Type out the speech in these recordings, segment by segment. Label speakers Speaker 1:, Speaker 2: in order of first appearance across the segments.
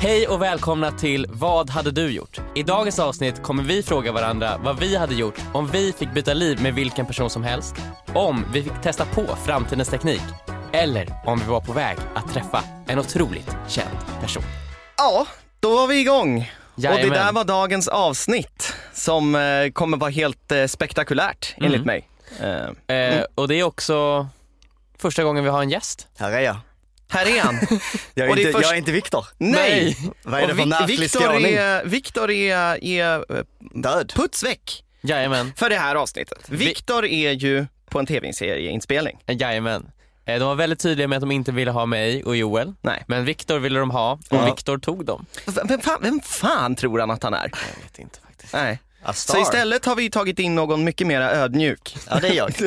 Speaker 1: Hej och välkomna till Vad hade du gjort? I dagens avsnitt kommer vi fråga varandra vad vi hade gjort om vi fick byta liv med vilken person som helst, om vi fick testa på framtidens teknik eller om vi var på väg att träffa en otroligt känd person.
Speaker 2: Ja, då var vi igång. Och det där
Speaker 1: Jajamän.
Speaker 2: var dagens avsnitt som eh, kommer vara helt eh, spektakulärt enligt mig. Eh,
Speaker 1: Eh, och det är också första gången vi har en gäst.
Speaker 3: Här är jag.
Speaker 2: här är han.
Speaker 3: Jag är,
Speaker 2: Och det är
Speaker 3: inte,
Speaker 2: först-
Speaker 3: jag är inte Viktor.
Speaker 2: Nej!
Speaker 3: Vad är det
Speaker 2: Och
Speaker 3: för
Speaker 2: Vic-
Speaker 3: märklig
Speaker 2: Victor
Speaker 3: skåning?
Speaker 2: är, Victor är, är eh,
Speaker 3: Död.
Speaker 2: puts väck
Speaker 1: Jajamän.
Speaker 2: för det här avsnittet. Victor är ju på en tv-serieinspelning.
Speaker 1: Eh, Jajamän. Eh, de var väldigt tydliga med att de inte ville ha mig och Joel.
Speaker 2: Nej.
Speaker 1: Men Viktor ville de ha och
Speaker 2: Ja.
Speaker 1: Viktor tog dem.
Speaker 2: V- Vem fan, vem fan tror han att han är?
Speaker 3: Jag vet inte faktiskt.
Speaker 2: Nej.
Speaker 3: A
Speaker 2: Så
Speaker 3: star.
Speaker 2: istället har vi tagit in någon mycket mer ödmjuk.
Speaker 3: Ja det är jag.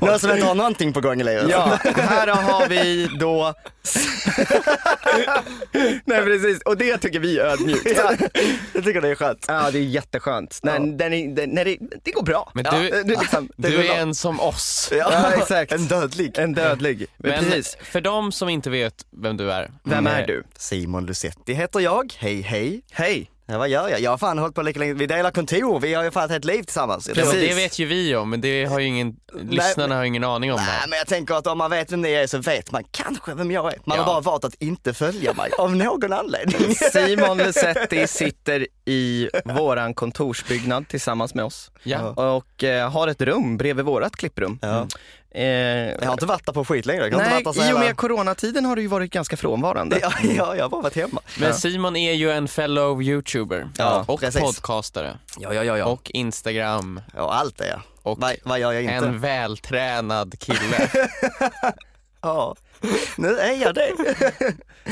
Speaker 3: Någon som inte har någonting på gång i livet.
Speaker 2: Ja, här har vi då... Nej precis, och det tycker vi är ödmjukt.
Speaker 3: Ja, Jag tycker det är skönt.
Speaker 2: Ja, det är jätteskönt. När, när, ni- när, när det, det går bra.
Speaker 1: Men
Speaker 2: ja,
Speaker 1: du-
Speaker 2: det, liksom, det går
Speaker 1: Du
Speaker 2: bra.
Speaker 1: är en som oss.
Speaker 2: Ja, exakt.
Speaker 3: En dödlig.
Speaker 2: En dödlig. Men,
Speaker 1: Men
Speaker 2: precis.
Speaker 1: för de som inte vet vem du är.
Speaker 2: Vem
Speaker 1: eh,
Speaker 2: är du?
Speaker 3: Simon Lusetti heter jag. Hej hej.
Speaker 2: Hej.
Speaker 3: Ja, vad gör jag? Jag har fan hållit på lika länge. Vi delar kontor. Vi har ju fan ett helt liv tillsammans. Jag
Speaker 1: Ja,
Speaker 3: tror-
Speaker 1: det vet ju vi om, men det har ju ingen, lyssnarna har ju ingen aning om det
Speaker 3: Nej
Speaker 1: här.
Speaker 3: men jag tänker att om man vet vem ni är så vet man kanske vem jag är. Man
Speaker 1: Ja.
Speaker 3: har bara valt att inte följa mig av någon anledning.
Speaker 2: Simon Lesetti sitter i våran kontorsbyggnad tillsammans med oss.
Speaker 1: Ja.
Speaker 2: Och eh, har ett rum bredvid vårat klipprum.
Speaker 3: Ja.
Speaker 2: Eh,
Speaker 3: Jag har inte varit där på skit längre. Jag har
Speaker 2: nej,
Speaker 3: inte varit där så
Speaker 2: i och
Speaker 3: jävla-
Speaker 2: med coronatiden har du ju varit ganska frånvarande.
Speaker 3: Ja, ja, jag har bara varit hemma.
Speaker 1: Men Simon är ju en fellow youtuber
Speaker 3: Ja,
Speaker 1: och
Speaker 3: precis.
Speaker 1: podcastare
Speaker 3: Ja, ja, ja. ja.
Speaker 1: och instagram
Speaker 3: Ja, allt är jag.
Speaker 1: och
Speaker 3: Vad, vad gör jag inte?
Speaker 1: en vältränad kille.
Speaker 3: Ja. Nu är jag det.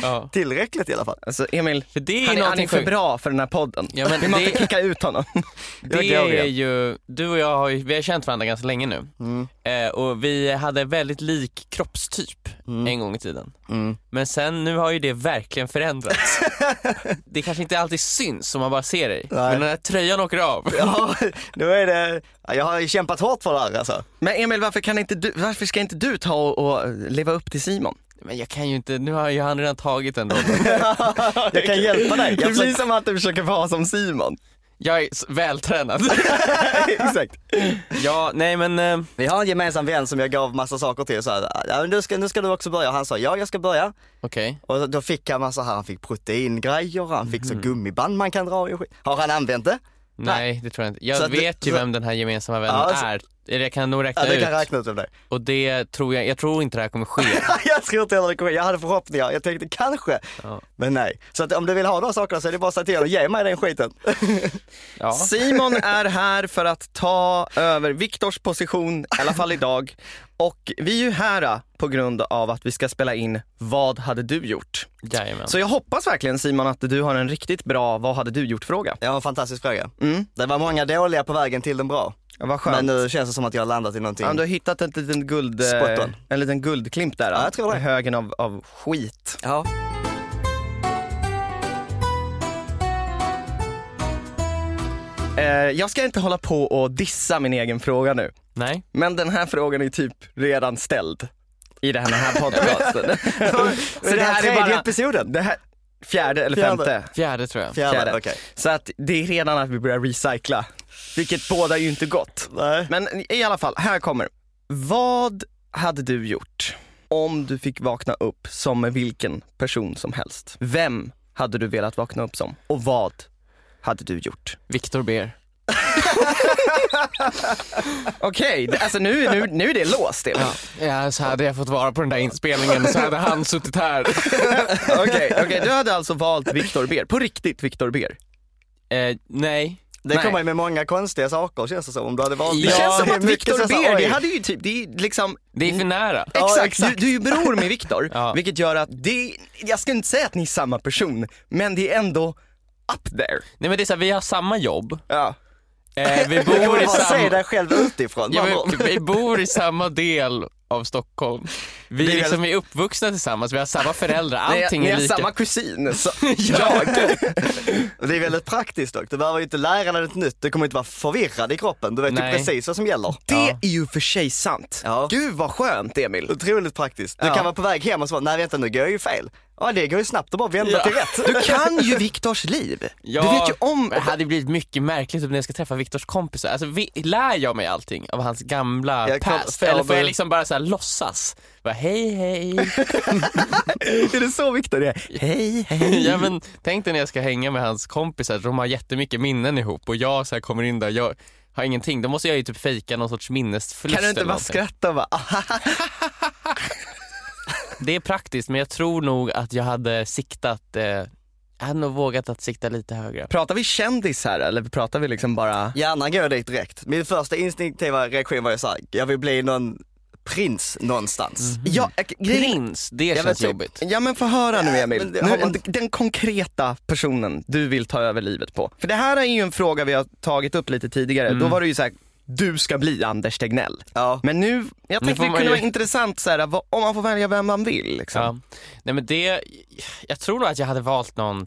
Speaker 1: ja.
Speaker 3: Tillräckligt i alla fall.
Speaker 2: Alltså Emil,
Speaker 1: För det är
Speaker 2: han,
Speaker 1: ju
Speaker 2: är- han är
Speaker 1: någonting
Speaker 2: för
Speaker 1: sjukt.
Speaker 2: bra för den här podden.
Speaker 1: Ja, men
Speaker 2: Vi måste
Speaker 1: det-
Speaker 2: kicka ut honom.
Speaker 1: Det
Speaker 3: Jag går
Speaker 1: är
Speaker 3: igen.
Speaker 1: ju, du och jag har ju, vi har känt varandra ganska länge nu
Speaker 3: Mm.
Speaker 1: eh, och vi hade väldigt lik kroppstyp
Speaker 3: Mm.
Speaker 1: en gång i tiden. Men sen nu har ju det verkligen förändrats. det kanske inte alltid syns om man bara ser dig,
Speaker 3: Nej.
Speaker 1: men den här tröjan åker av.
Speaker 3: Ja, nu är det... ja, Jag har ju kämpat hårt för det här alltså.
Speaker 2: Men Emil, varför, kan inte du, varför ska inte du ta och, och leva upp till Simon?
Speaker 1: Men jag kan ju inte, nu har ju han redan tagit en roll.
Speaker 3: Jag kan hjälpa dig. Jag försöker-
Speaker 2: som att du försöker vara som Simon.
Speaker 1: Jag är s- vältränad.
Speaker 3: Exakt.
Speaker 1: ja, nej men, eh,
Speaker 3: Vi har en gemensam vän som jag gav massa saker till. Så här, ja, men nu, ska, nu ska du också börja. Han sa ja, jag ska börja.
Speaker 1: okej.
Speaker 3: Och då fick han massa här. Han fick proteingrejer, han fick så gummiband man kan dra i och skit. Har han använt det?
Speaker 1: Nej, det tror jag inte. Jag
Speaker 3: Så att det-
Speaker 1: vet ju
Speaker 3: så-
Speaker 1: vem den här gemensamma vännen
Speaker 3: Ja, så-
Speaker 1: är. Jag kan nog räkna
Speaker 3: Ja, det
Speaker 1: ut.
Speaker 3: kan jag räkna ut vem det är.
Speaker 1: Och det tror jag, jag tror inte det här kommer ske.
Speaker 3: jag tror inte heller det kommer. Jag hade förhoppningar. Jag tänkte kanske. Men nej. Så att om du vill ha de här sakerna så är det bara att säga till honom. Ge mig den skiten.
Speaker 1: Ja.
Speaker 2: Simon är här för att ta över Viktors position, i alla fall idag. Och vi är ju här ah, på grund av att vi ska spela in Vad hade du gjort?
Speaker 1: Jajamän.
Speaker 2: Så jag hoppas verkligen Simon att du har en riktigt bra Vad hade du gjort-fråga.
Speaker 3: Jag har en fantastisk fråga.
Speaker 2: Mm.
Speaker 3: Det var många dåliga på vägen till den bra.
Speaker 2: Ja, vad skönt.
Speaker 3: Men nu känns det som att jag har landat i någonting.
Speaker 2: Ja, du har hittat en liten, guld, eh,
Speaker 3: Spot on.
Speaker 2: en liten guldklimp där. ah,
Speaker 3: Ja, jag tror det.
Speaker 2: i Högen av, av skit.
Speaker 3: Ja.
Speaker 2: Eh, jag ska inte hålla på och dissa min egen fråga nu.
Speaker 1: Nej.
Speaker 2: Men den här frågan är typ redan ställd i den här podcasten.
Speaker 3: Så det här är tredje bara... episoden?
Speaker 2: det här, fjärde eller
Speaker 3: Fjärde.
Speaker 2: femte.
Speaker 1: Fjärde tror jag.
Speaker 3: Fjärde,
Speaker 2: Fjärde.
Speaker 3: okej.
Speaker 2: Så att det är redan att vi börjar recycla, vilket båda ju inte gott.
Speaker 3: Nej.
Speaker 2: Men i alla fall, här kommer. Vad hade du gjort om du fick vakna upp som med vilken person som helst? Vem hade du velat vakna upp som och vad hade du gjort?
Speaker 1: Viktor Ber.
Speaker 2: Okej, det- alltså nu, nu, nu är det låst Emil.
Speaker 1: Ja, så hade jag fått vara på den där inspelningen så hade han suttit här.
Speaker 2: Okej, okej, du hade alltså valt Viktor Ber, på riktigt Viktor Ber.
Speaker 1: eh, nej.
Speaker 3: Det
Speaker 2: Nej.
Speaker 3: kommer ju med många konstiga saker känns det som om du hade valt.
Speaker 1: Det
Speaker 2: Det
Speaker 1: Ja,
Speaker 2: känns som
Speaker 3: är
Speaker 2: att
Speaker 3: mycket
Speaker 2: Viktor
Speaker 3: så här,
Speaker 2: Ber,
Speaker 3: oj.
Speaker 2: det hade ju typ, det är liksom
Speaker 1: Det är för nära.
Speaker 3: Ja,
Speaker 2: Exakt,
Speaker 3: exakt.
Speaker 2: Du, du är ju bror med Viktor,
Speaker 1: Ja.
Speaker 2: vilket gör att det, jag ska inte säga att ni är samma person, men det är ändå up there.
Speaker 1: Nej men det är så här, vi har samma jobb.
Speaker 2: Ja.
Speaker 1: Eh, vi
Speaker 3: Du
Speaker 1: bor
Speaker 3: kommer
Speaker 1: i
Speaker 3: bara se
Speaker 1: samma...
Speaker 3: dig själv utifrån.
Speaker 1: Ja,
Speaker 3: Man bara-
Speaker 1: men, vi bor i samma del av Stockholm. Vi
Speaker 3: Det
Speaker 1: är
Speaker 3: är
Speaker 1: liksom är uppvuxna tillsammans, vi har samma föräldrar,
Speaker 2: Ni,
Speaker 1: allting
Speaker 2: ni
Speaker 1: är
Speaker 2: har
Speaker 1: lika.
Speaker 2: samma kusin, så jag.
Speaker 3: Det är väldigt praktiskt dock. Du behöver ju inte lära dig något nytt. Du kommer inte vara förvirrad i kroppen. Du vet ju
Speaker 1: Nej.
Speaker 3: precis vad som gäller.
Speaker 2: Det är ju för sig sant.
Speaker 3: Ja.
Speaker 2: Gud vad skönt Emil.
Speaker 3: Otroligt praktiskt. Du
Speaker 2: Ja.
Speaker 3: kan vara på väg hem och så bara, nej vänta nu går jag ju fel. Ja, det går ju snabbt att bara vända
Speaker 1: Ja.
Speaker 3: till rätt.
Speaker 2: Du kan ju Viktors liv.
Speaker 1: Ja,
Speaker 2: Du vet ju om...
Speaker 1: men Det hade blivit mycket märkligt om när jag ska träffa Viktors kompisar. Alltså, vi, lär jag mig allting av hans gamla
Speaker 3: Jag kom-
Speaker 1: past?
Speaker 3: ja,
Speaker 1: Eller får jag
Speaker 3: du-
Speaker 1: liksom bara så här låtsas? Bara, hej hej.
Speaker 2: Är det så Viktor är? Hej, hej.
Speaker 1: ja, men, tänk dig när jag ska hänga med hans kompisar, de har jättemycket minnen ihop och jag så här kommer in där, jag har ingenting. Då måste jag ju typ fejka någon sorts minnesförlust
Speaker 2: Kan du inte
Speaker 1: eller
Speaker 2: bara
Speaker 1: någonting.
Speaker 2: skratta och bara, ah,
Speaker 1: Det är praktiskt men jag tror nog att jag hade siktat, eh, jag hade nog vågat att sikta lite högre.
Speaker 2: Pratar vi kändis här eller pratar vi liksom bara...
Speaker 3: Hjärnan går dit direkt. Min första instinktiva reaktion var ju såhär, jag vill bli någon prins någonstans.
Speaker 1: Mhm.
Speaker 2: Ja, äh, grejen-
Speaker 1: Prins, det
Speaker 2: Jag
Speaker 1: känns
Speaker 2: vet-
Speaker 1: jobbigt.
Speaker 2: Ja typ. men få höra nu Emil,
Speaker 3: men det-
Speaker 2: nu,
Speaker 3: har man-
Speaker 2: d- den konkreta personen du vill ta över livet på. För det här är ju en fråga vi har tagit upp lite tidigare,
Speaker 1: Mm.
Speaker 2: då var det ju så här: du ska bli Anders Tegnell.
Speaker 3: Ja.
Speaker 2: Men nu, jag tänkte
Speaker 1: får
Speaker 2: det
Speaker 1: man
Speaker 2: kunde
Speaker 1: ju-
Speaker 2: vara intressant så här, vad- om man får välja vem man vill. Liksom.
Speaker 1: Ja. Nej men det, jag tror nog att jag hade valt någon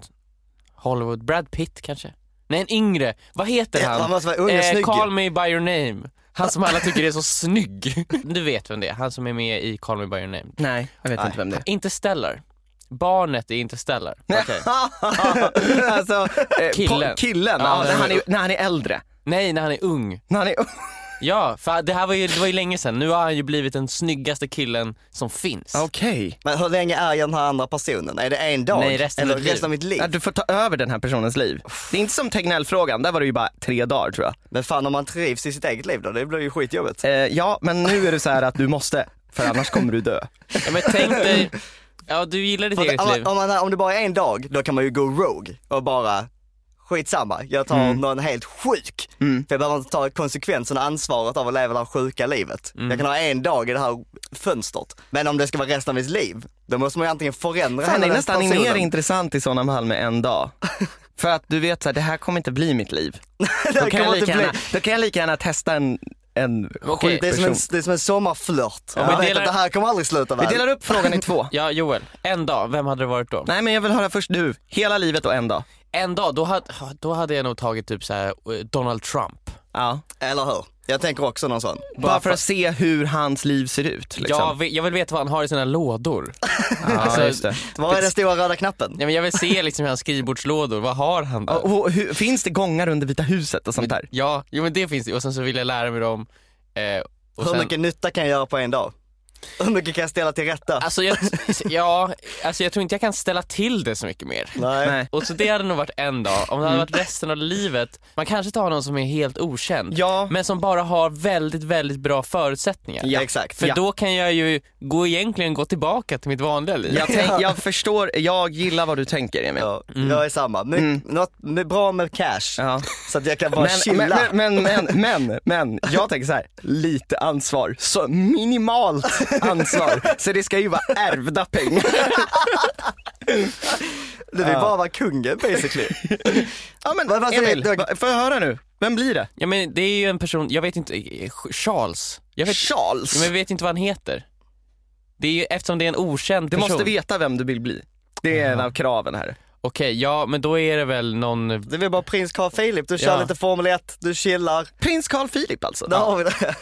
Speaker 1: Hollywood, Brad Pitt kanske? Nej en yngre, vad heter han? Eh,
Speaker 3: Han måste vara ung och snygg.
Speaker 1: Call me by your name. Han som alla tycker är så snygg. Du vet vem det är, han som är med i Call me by your name.
Speaker 2: Nej, jag vet
Speaker 3: Nej.
Speaker 2: inte vem det är.
Speaker 1: Interstellar. Barnet i Interstellar.
Speaker 2: alltså, eh,
Speaker 1: Killen.
Speaker 2: Po- killen,
Speaker 1: Ja,
Speaker 2: ja,
Speaker 1: den
Speaker 2: när, han
Speaker 1: är-
Speaker 2: är, när han är äldre.
Speaker 1: Nej, när han är ung.
Speaker 2: När han är...
Speaker 1: Ja, för det här var ju, det var ju länge sedan. Nu har han ju blivit den snyggaste killen som finns.
Speaker 2: Okej,
Speaker 3: Men hur länge är jag den här andra personen? Är det en dag?
Speaker 1: Nej, resten av
Speaker 3: Eller
Speaker 1: mitt liv.
Speaker 3: resten av mitt liv?
Speaker 2: ja, du får ta över den här personens liv. Det är inte som Tegnell-frågan, där var det ju bara tre dagar tror jag.
Speaker 3: Men fan om man trivs i sitt eget liv då, det blir ju skitjobbigt.
Speaker 2: Eh, ja, men nu är det så här att du måste, för annars kommer du dö.
Speaker 1: Ja, men tänk dig, ja du gillar ditt
Speaker 3: För att
Speaker 1: eget
Speaker 3: om,
Speaker 1: liv.
Speaker 3: man, om, man, om det bara är en dag, då kan man ju gå rogue och bara skitsamma, jag tar
Speaker 2: Mm.
Speaker 3: någon helt sjuk. För jag behöver inte ta konsekvensen och ansvaret av att leva det här sjuka livet.
Speaker 2: Mm.
Speaker 3: Jag kan ha en dag i det här fönstret. Men om det ska vara resten av mitt liv, då måste man ju antingen förändra
Speaker 2: Fan, det
Speaker 3: hela
Speaker 2: är
Speaker 3: den
Speaker 2: nästan
Speaker 3: personen.
Speaker 2: mer intressant i sådana fall med en dag. För att du vet så här, det här kommer inte bli mitt liv. Då kan,
Speaker 3: kommer
Speaker 2: jag
Speaker 3: inte
Speaker 2: lika
Speaker 3: bli-
Speaker 2: gärna, då kan jag lika gärna testa en, en
Speaker 1: Okej,
Speaker 2: sjuk
Speaker 3: Det är, som
Speaker 2: person.
Speaker 3: en, det är som en sommarflört.
Speaker 1: vi
Speaker 3: man vet
Speaker 1: delar-
Speaker 3: att det här kommer aldrig sluta
Speaker 2: Vi
Speaker 3: väl.
Speaker 2: delar upp frågan i två.
Speaker 1: Ja Joel, en dag, vem hade det varit då?
Speaker 2: Nej men jag vill höra först du, hela livet och en dag.
Speaker 1: En dag, då hade, då hade jag nog tagit typ så här, eh, Donald Trump.
Speaker 2: Ja.
Speaker 3: Eller hur? Jag tänker också någon sån.
Speaker 2: Bara för att se hur hans liv ser ut.
Speaker 1: Jag,
Speaker 2: Liksom.
Speaker 1: vill, jag vill veta vad han har i sina lådor.
Speaker 3: alltså-
Speaker 2: Ja, just det.
Speaker 3: Var är den stora röda knappen?
Speaker 1: Ja, men jag vill se liksom hans skrivbordslådor, vad har han där?
Speaker 2: Och, och, hur, finns det gångar under Vita huset och sånt där?
Speaker 1: Ja, jo men det finns det. Och sen så vill jag lära mig dem. Eh, och
Speaker 3: Hur
Speaker 1: sen,
Speaker 3: mycket nytta kan jag göra på en dag? Hur mycket kan jag ställa till rätta?
Speaker 1: Alltså jag, ja, alltså jag tror inte jag kan ställa till det så mycket mer.
Speaker 3: Nej.
Speaker 2: Nej.
Speaker 1: Och så det hade nog varit en dag. Om det
Speaker 3: Mm.
Speaker 1: hade varit resten av livet, man kanske tar någon som är helt okänd.
Speaker 2: Ja.
Speaker 1: Men som bara har väldigt, väldigt bra förutsättningar.
Speaker 3: Ja, exakt.
Speaker 1: För
Speaker 3: Ja.
Speaker 1: då kan jag ju gå egentligen gå tillbaka till mitt vanliga liv.
Speaker 2: Jag, tänk, jag förstår, jag gillar vad du tänker Emil.
Speaker 3: Ja, Jag är samma. My, Något med, bra med cash.
Speaker 2: Mm. Ja.
Speaker 3: Så att jag kan bara
Speaker 2: Men,
Speaker 3: chilla.
Speaker 2: men, men, men, men, men, men, jag tänker så här, lite ansvar. Så minimalt ansvar. Så det ska ju vara ärvda pengar.
Speaker 3: du vill bara vara kungen basically.
Speaker 2: Ja men
Speaker 3: Vad- vad säger
Speaker 2: Emil,
Speaker 3: du?
Speaker 2: va- får jag höra nu? Vem blir det?
Speaker 1: Ja men det är ju en person, jag vet inte, eh, Charles? Jag vet, Ja,
Speaker 2: Charles?
Speaker 1: men jag vet inte vad han heter. Det är ju, eftersom det är en okänd
Speaker 2: Du
Speaker 1: person.
Speaker 2: måste veta vem du vill bli. Det är en av kraven här.
Speaker 1: Okej, ja men då är det väl någon,
Speaker 3: Du vill bara prins Carl Philip, du kör
Speaker 1: Ja.
Speaker 3: lite Formel 1, du chillar.
Speaker 2: Prins Carl Philip alltså.
Speaker 3: Där har vi det.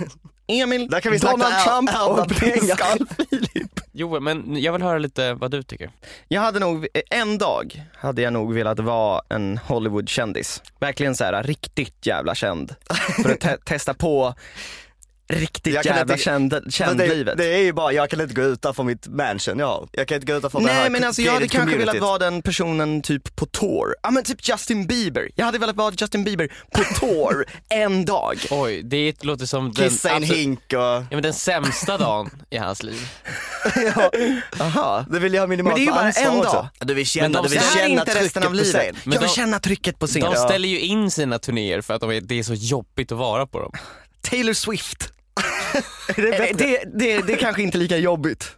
Speaker 2: Emil,
Speaker 3: Där kan vi snacka
Speaker 2: Donald
Speaker 3: är-
Speaker 2: Trump
Speaker 3: ärvda
Speaker 2: och prins
Speaker 3: pengar.
Speaker 2: Carl Philip.
Speaker 1: jo men jag vill höra lite vad du tycker.
Speaker 2: Jag hade nog, en dag hade jag nog velat vara en Hollywood-kändis. Verkligen så här riktigt jävla känd. För att te- testa på riktigt
Speaker 3: Jag kan
Speaker 2: jävla
Speaker 3: inte-
Speaker 2: känd,
Speaker 3: Men det,
Speaker 2: kändlivet.
Speaker 3: det är ju bara, jag kan inte gå utanför mitt mansion jag har. Jag kan inte gå utanför det här
Speaker 2: Nej men alltså jag hade
Speaker 3: gated
Speaker 2: kanske velat
Speaker 3: communityt.
Speaker 2: vara den personen typ på tour. Ja men typ Justin Bieber. Jag hade velat vara Justin Bieber på tour en dag.
Speaker 1: Oj, det låter som
Speaker 3: Kissa i en
Speaker 1: absolut-
Speaker 3: hink och...
Speaker 1: Ja men den sämsta dagen i hans liv.
Speaker 2: Aha.
Speaker 3: Det vill jag ha minimalt
Speaker 2: Men det är ju
Speaker 3: med
Speaker 2: bara
Speaker 3: ansvar
Speaker 2: en
Speaker 3: också.
Speaker 2: dag.
Speaker 3: Du
Speaker 1: Men
Speaker 3: vill
Speaker 1: de-
Speaker 3: känna, du
Speaker 1: Vi
Speaker 2: Det
Speaker 3: vill
Speaker 2: här är
Speaker 3: känna
Speaker 2: inte resten
Speaker 3: trycket
Speaker 2: av
Speaker 3: på
Speaker 2: livet.
Speaker 3: scen.
Speaker 1: Men
Speaker 2: Jag vill
Speaker 1: de-
Speaker 2: känna trycket på scen.
Speaker 1: De ställer ju in sina turnéer för att de är, det är så jobbigt att vara på dem.
Speaker 2: Taylor Swift.
Speaker 3: Det är
Speaker 2: Eh,
Speaker 3: bättre.
Speaker 2: Det, det, det är kanske inte lika jobbigt.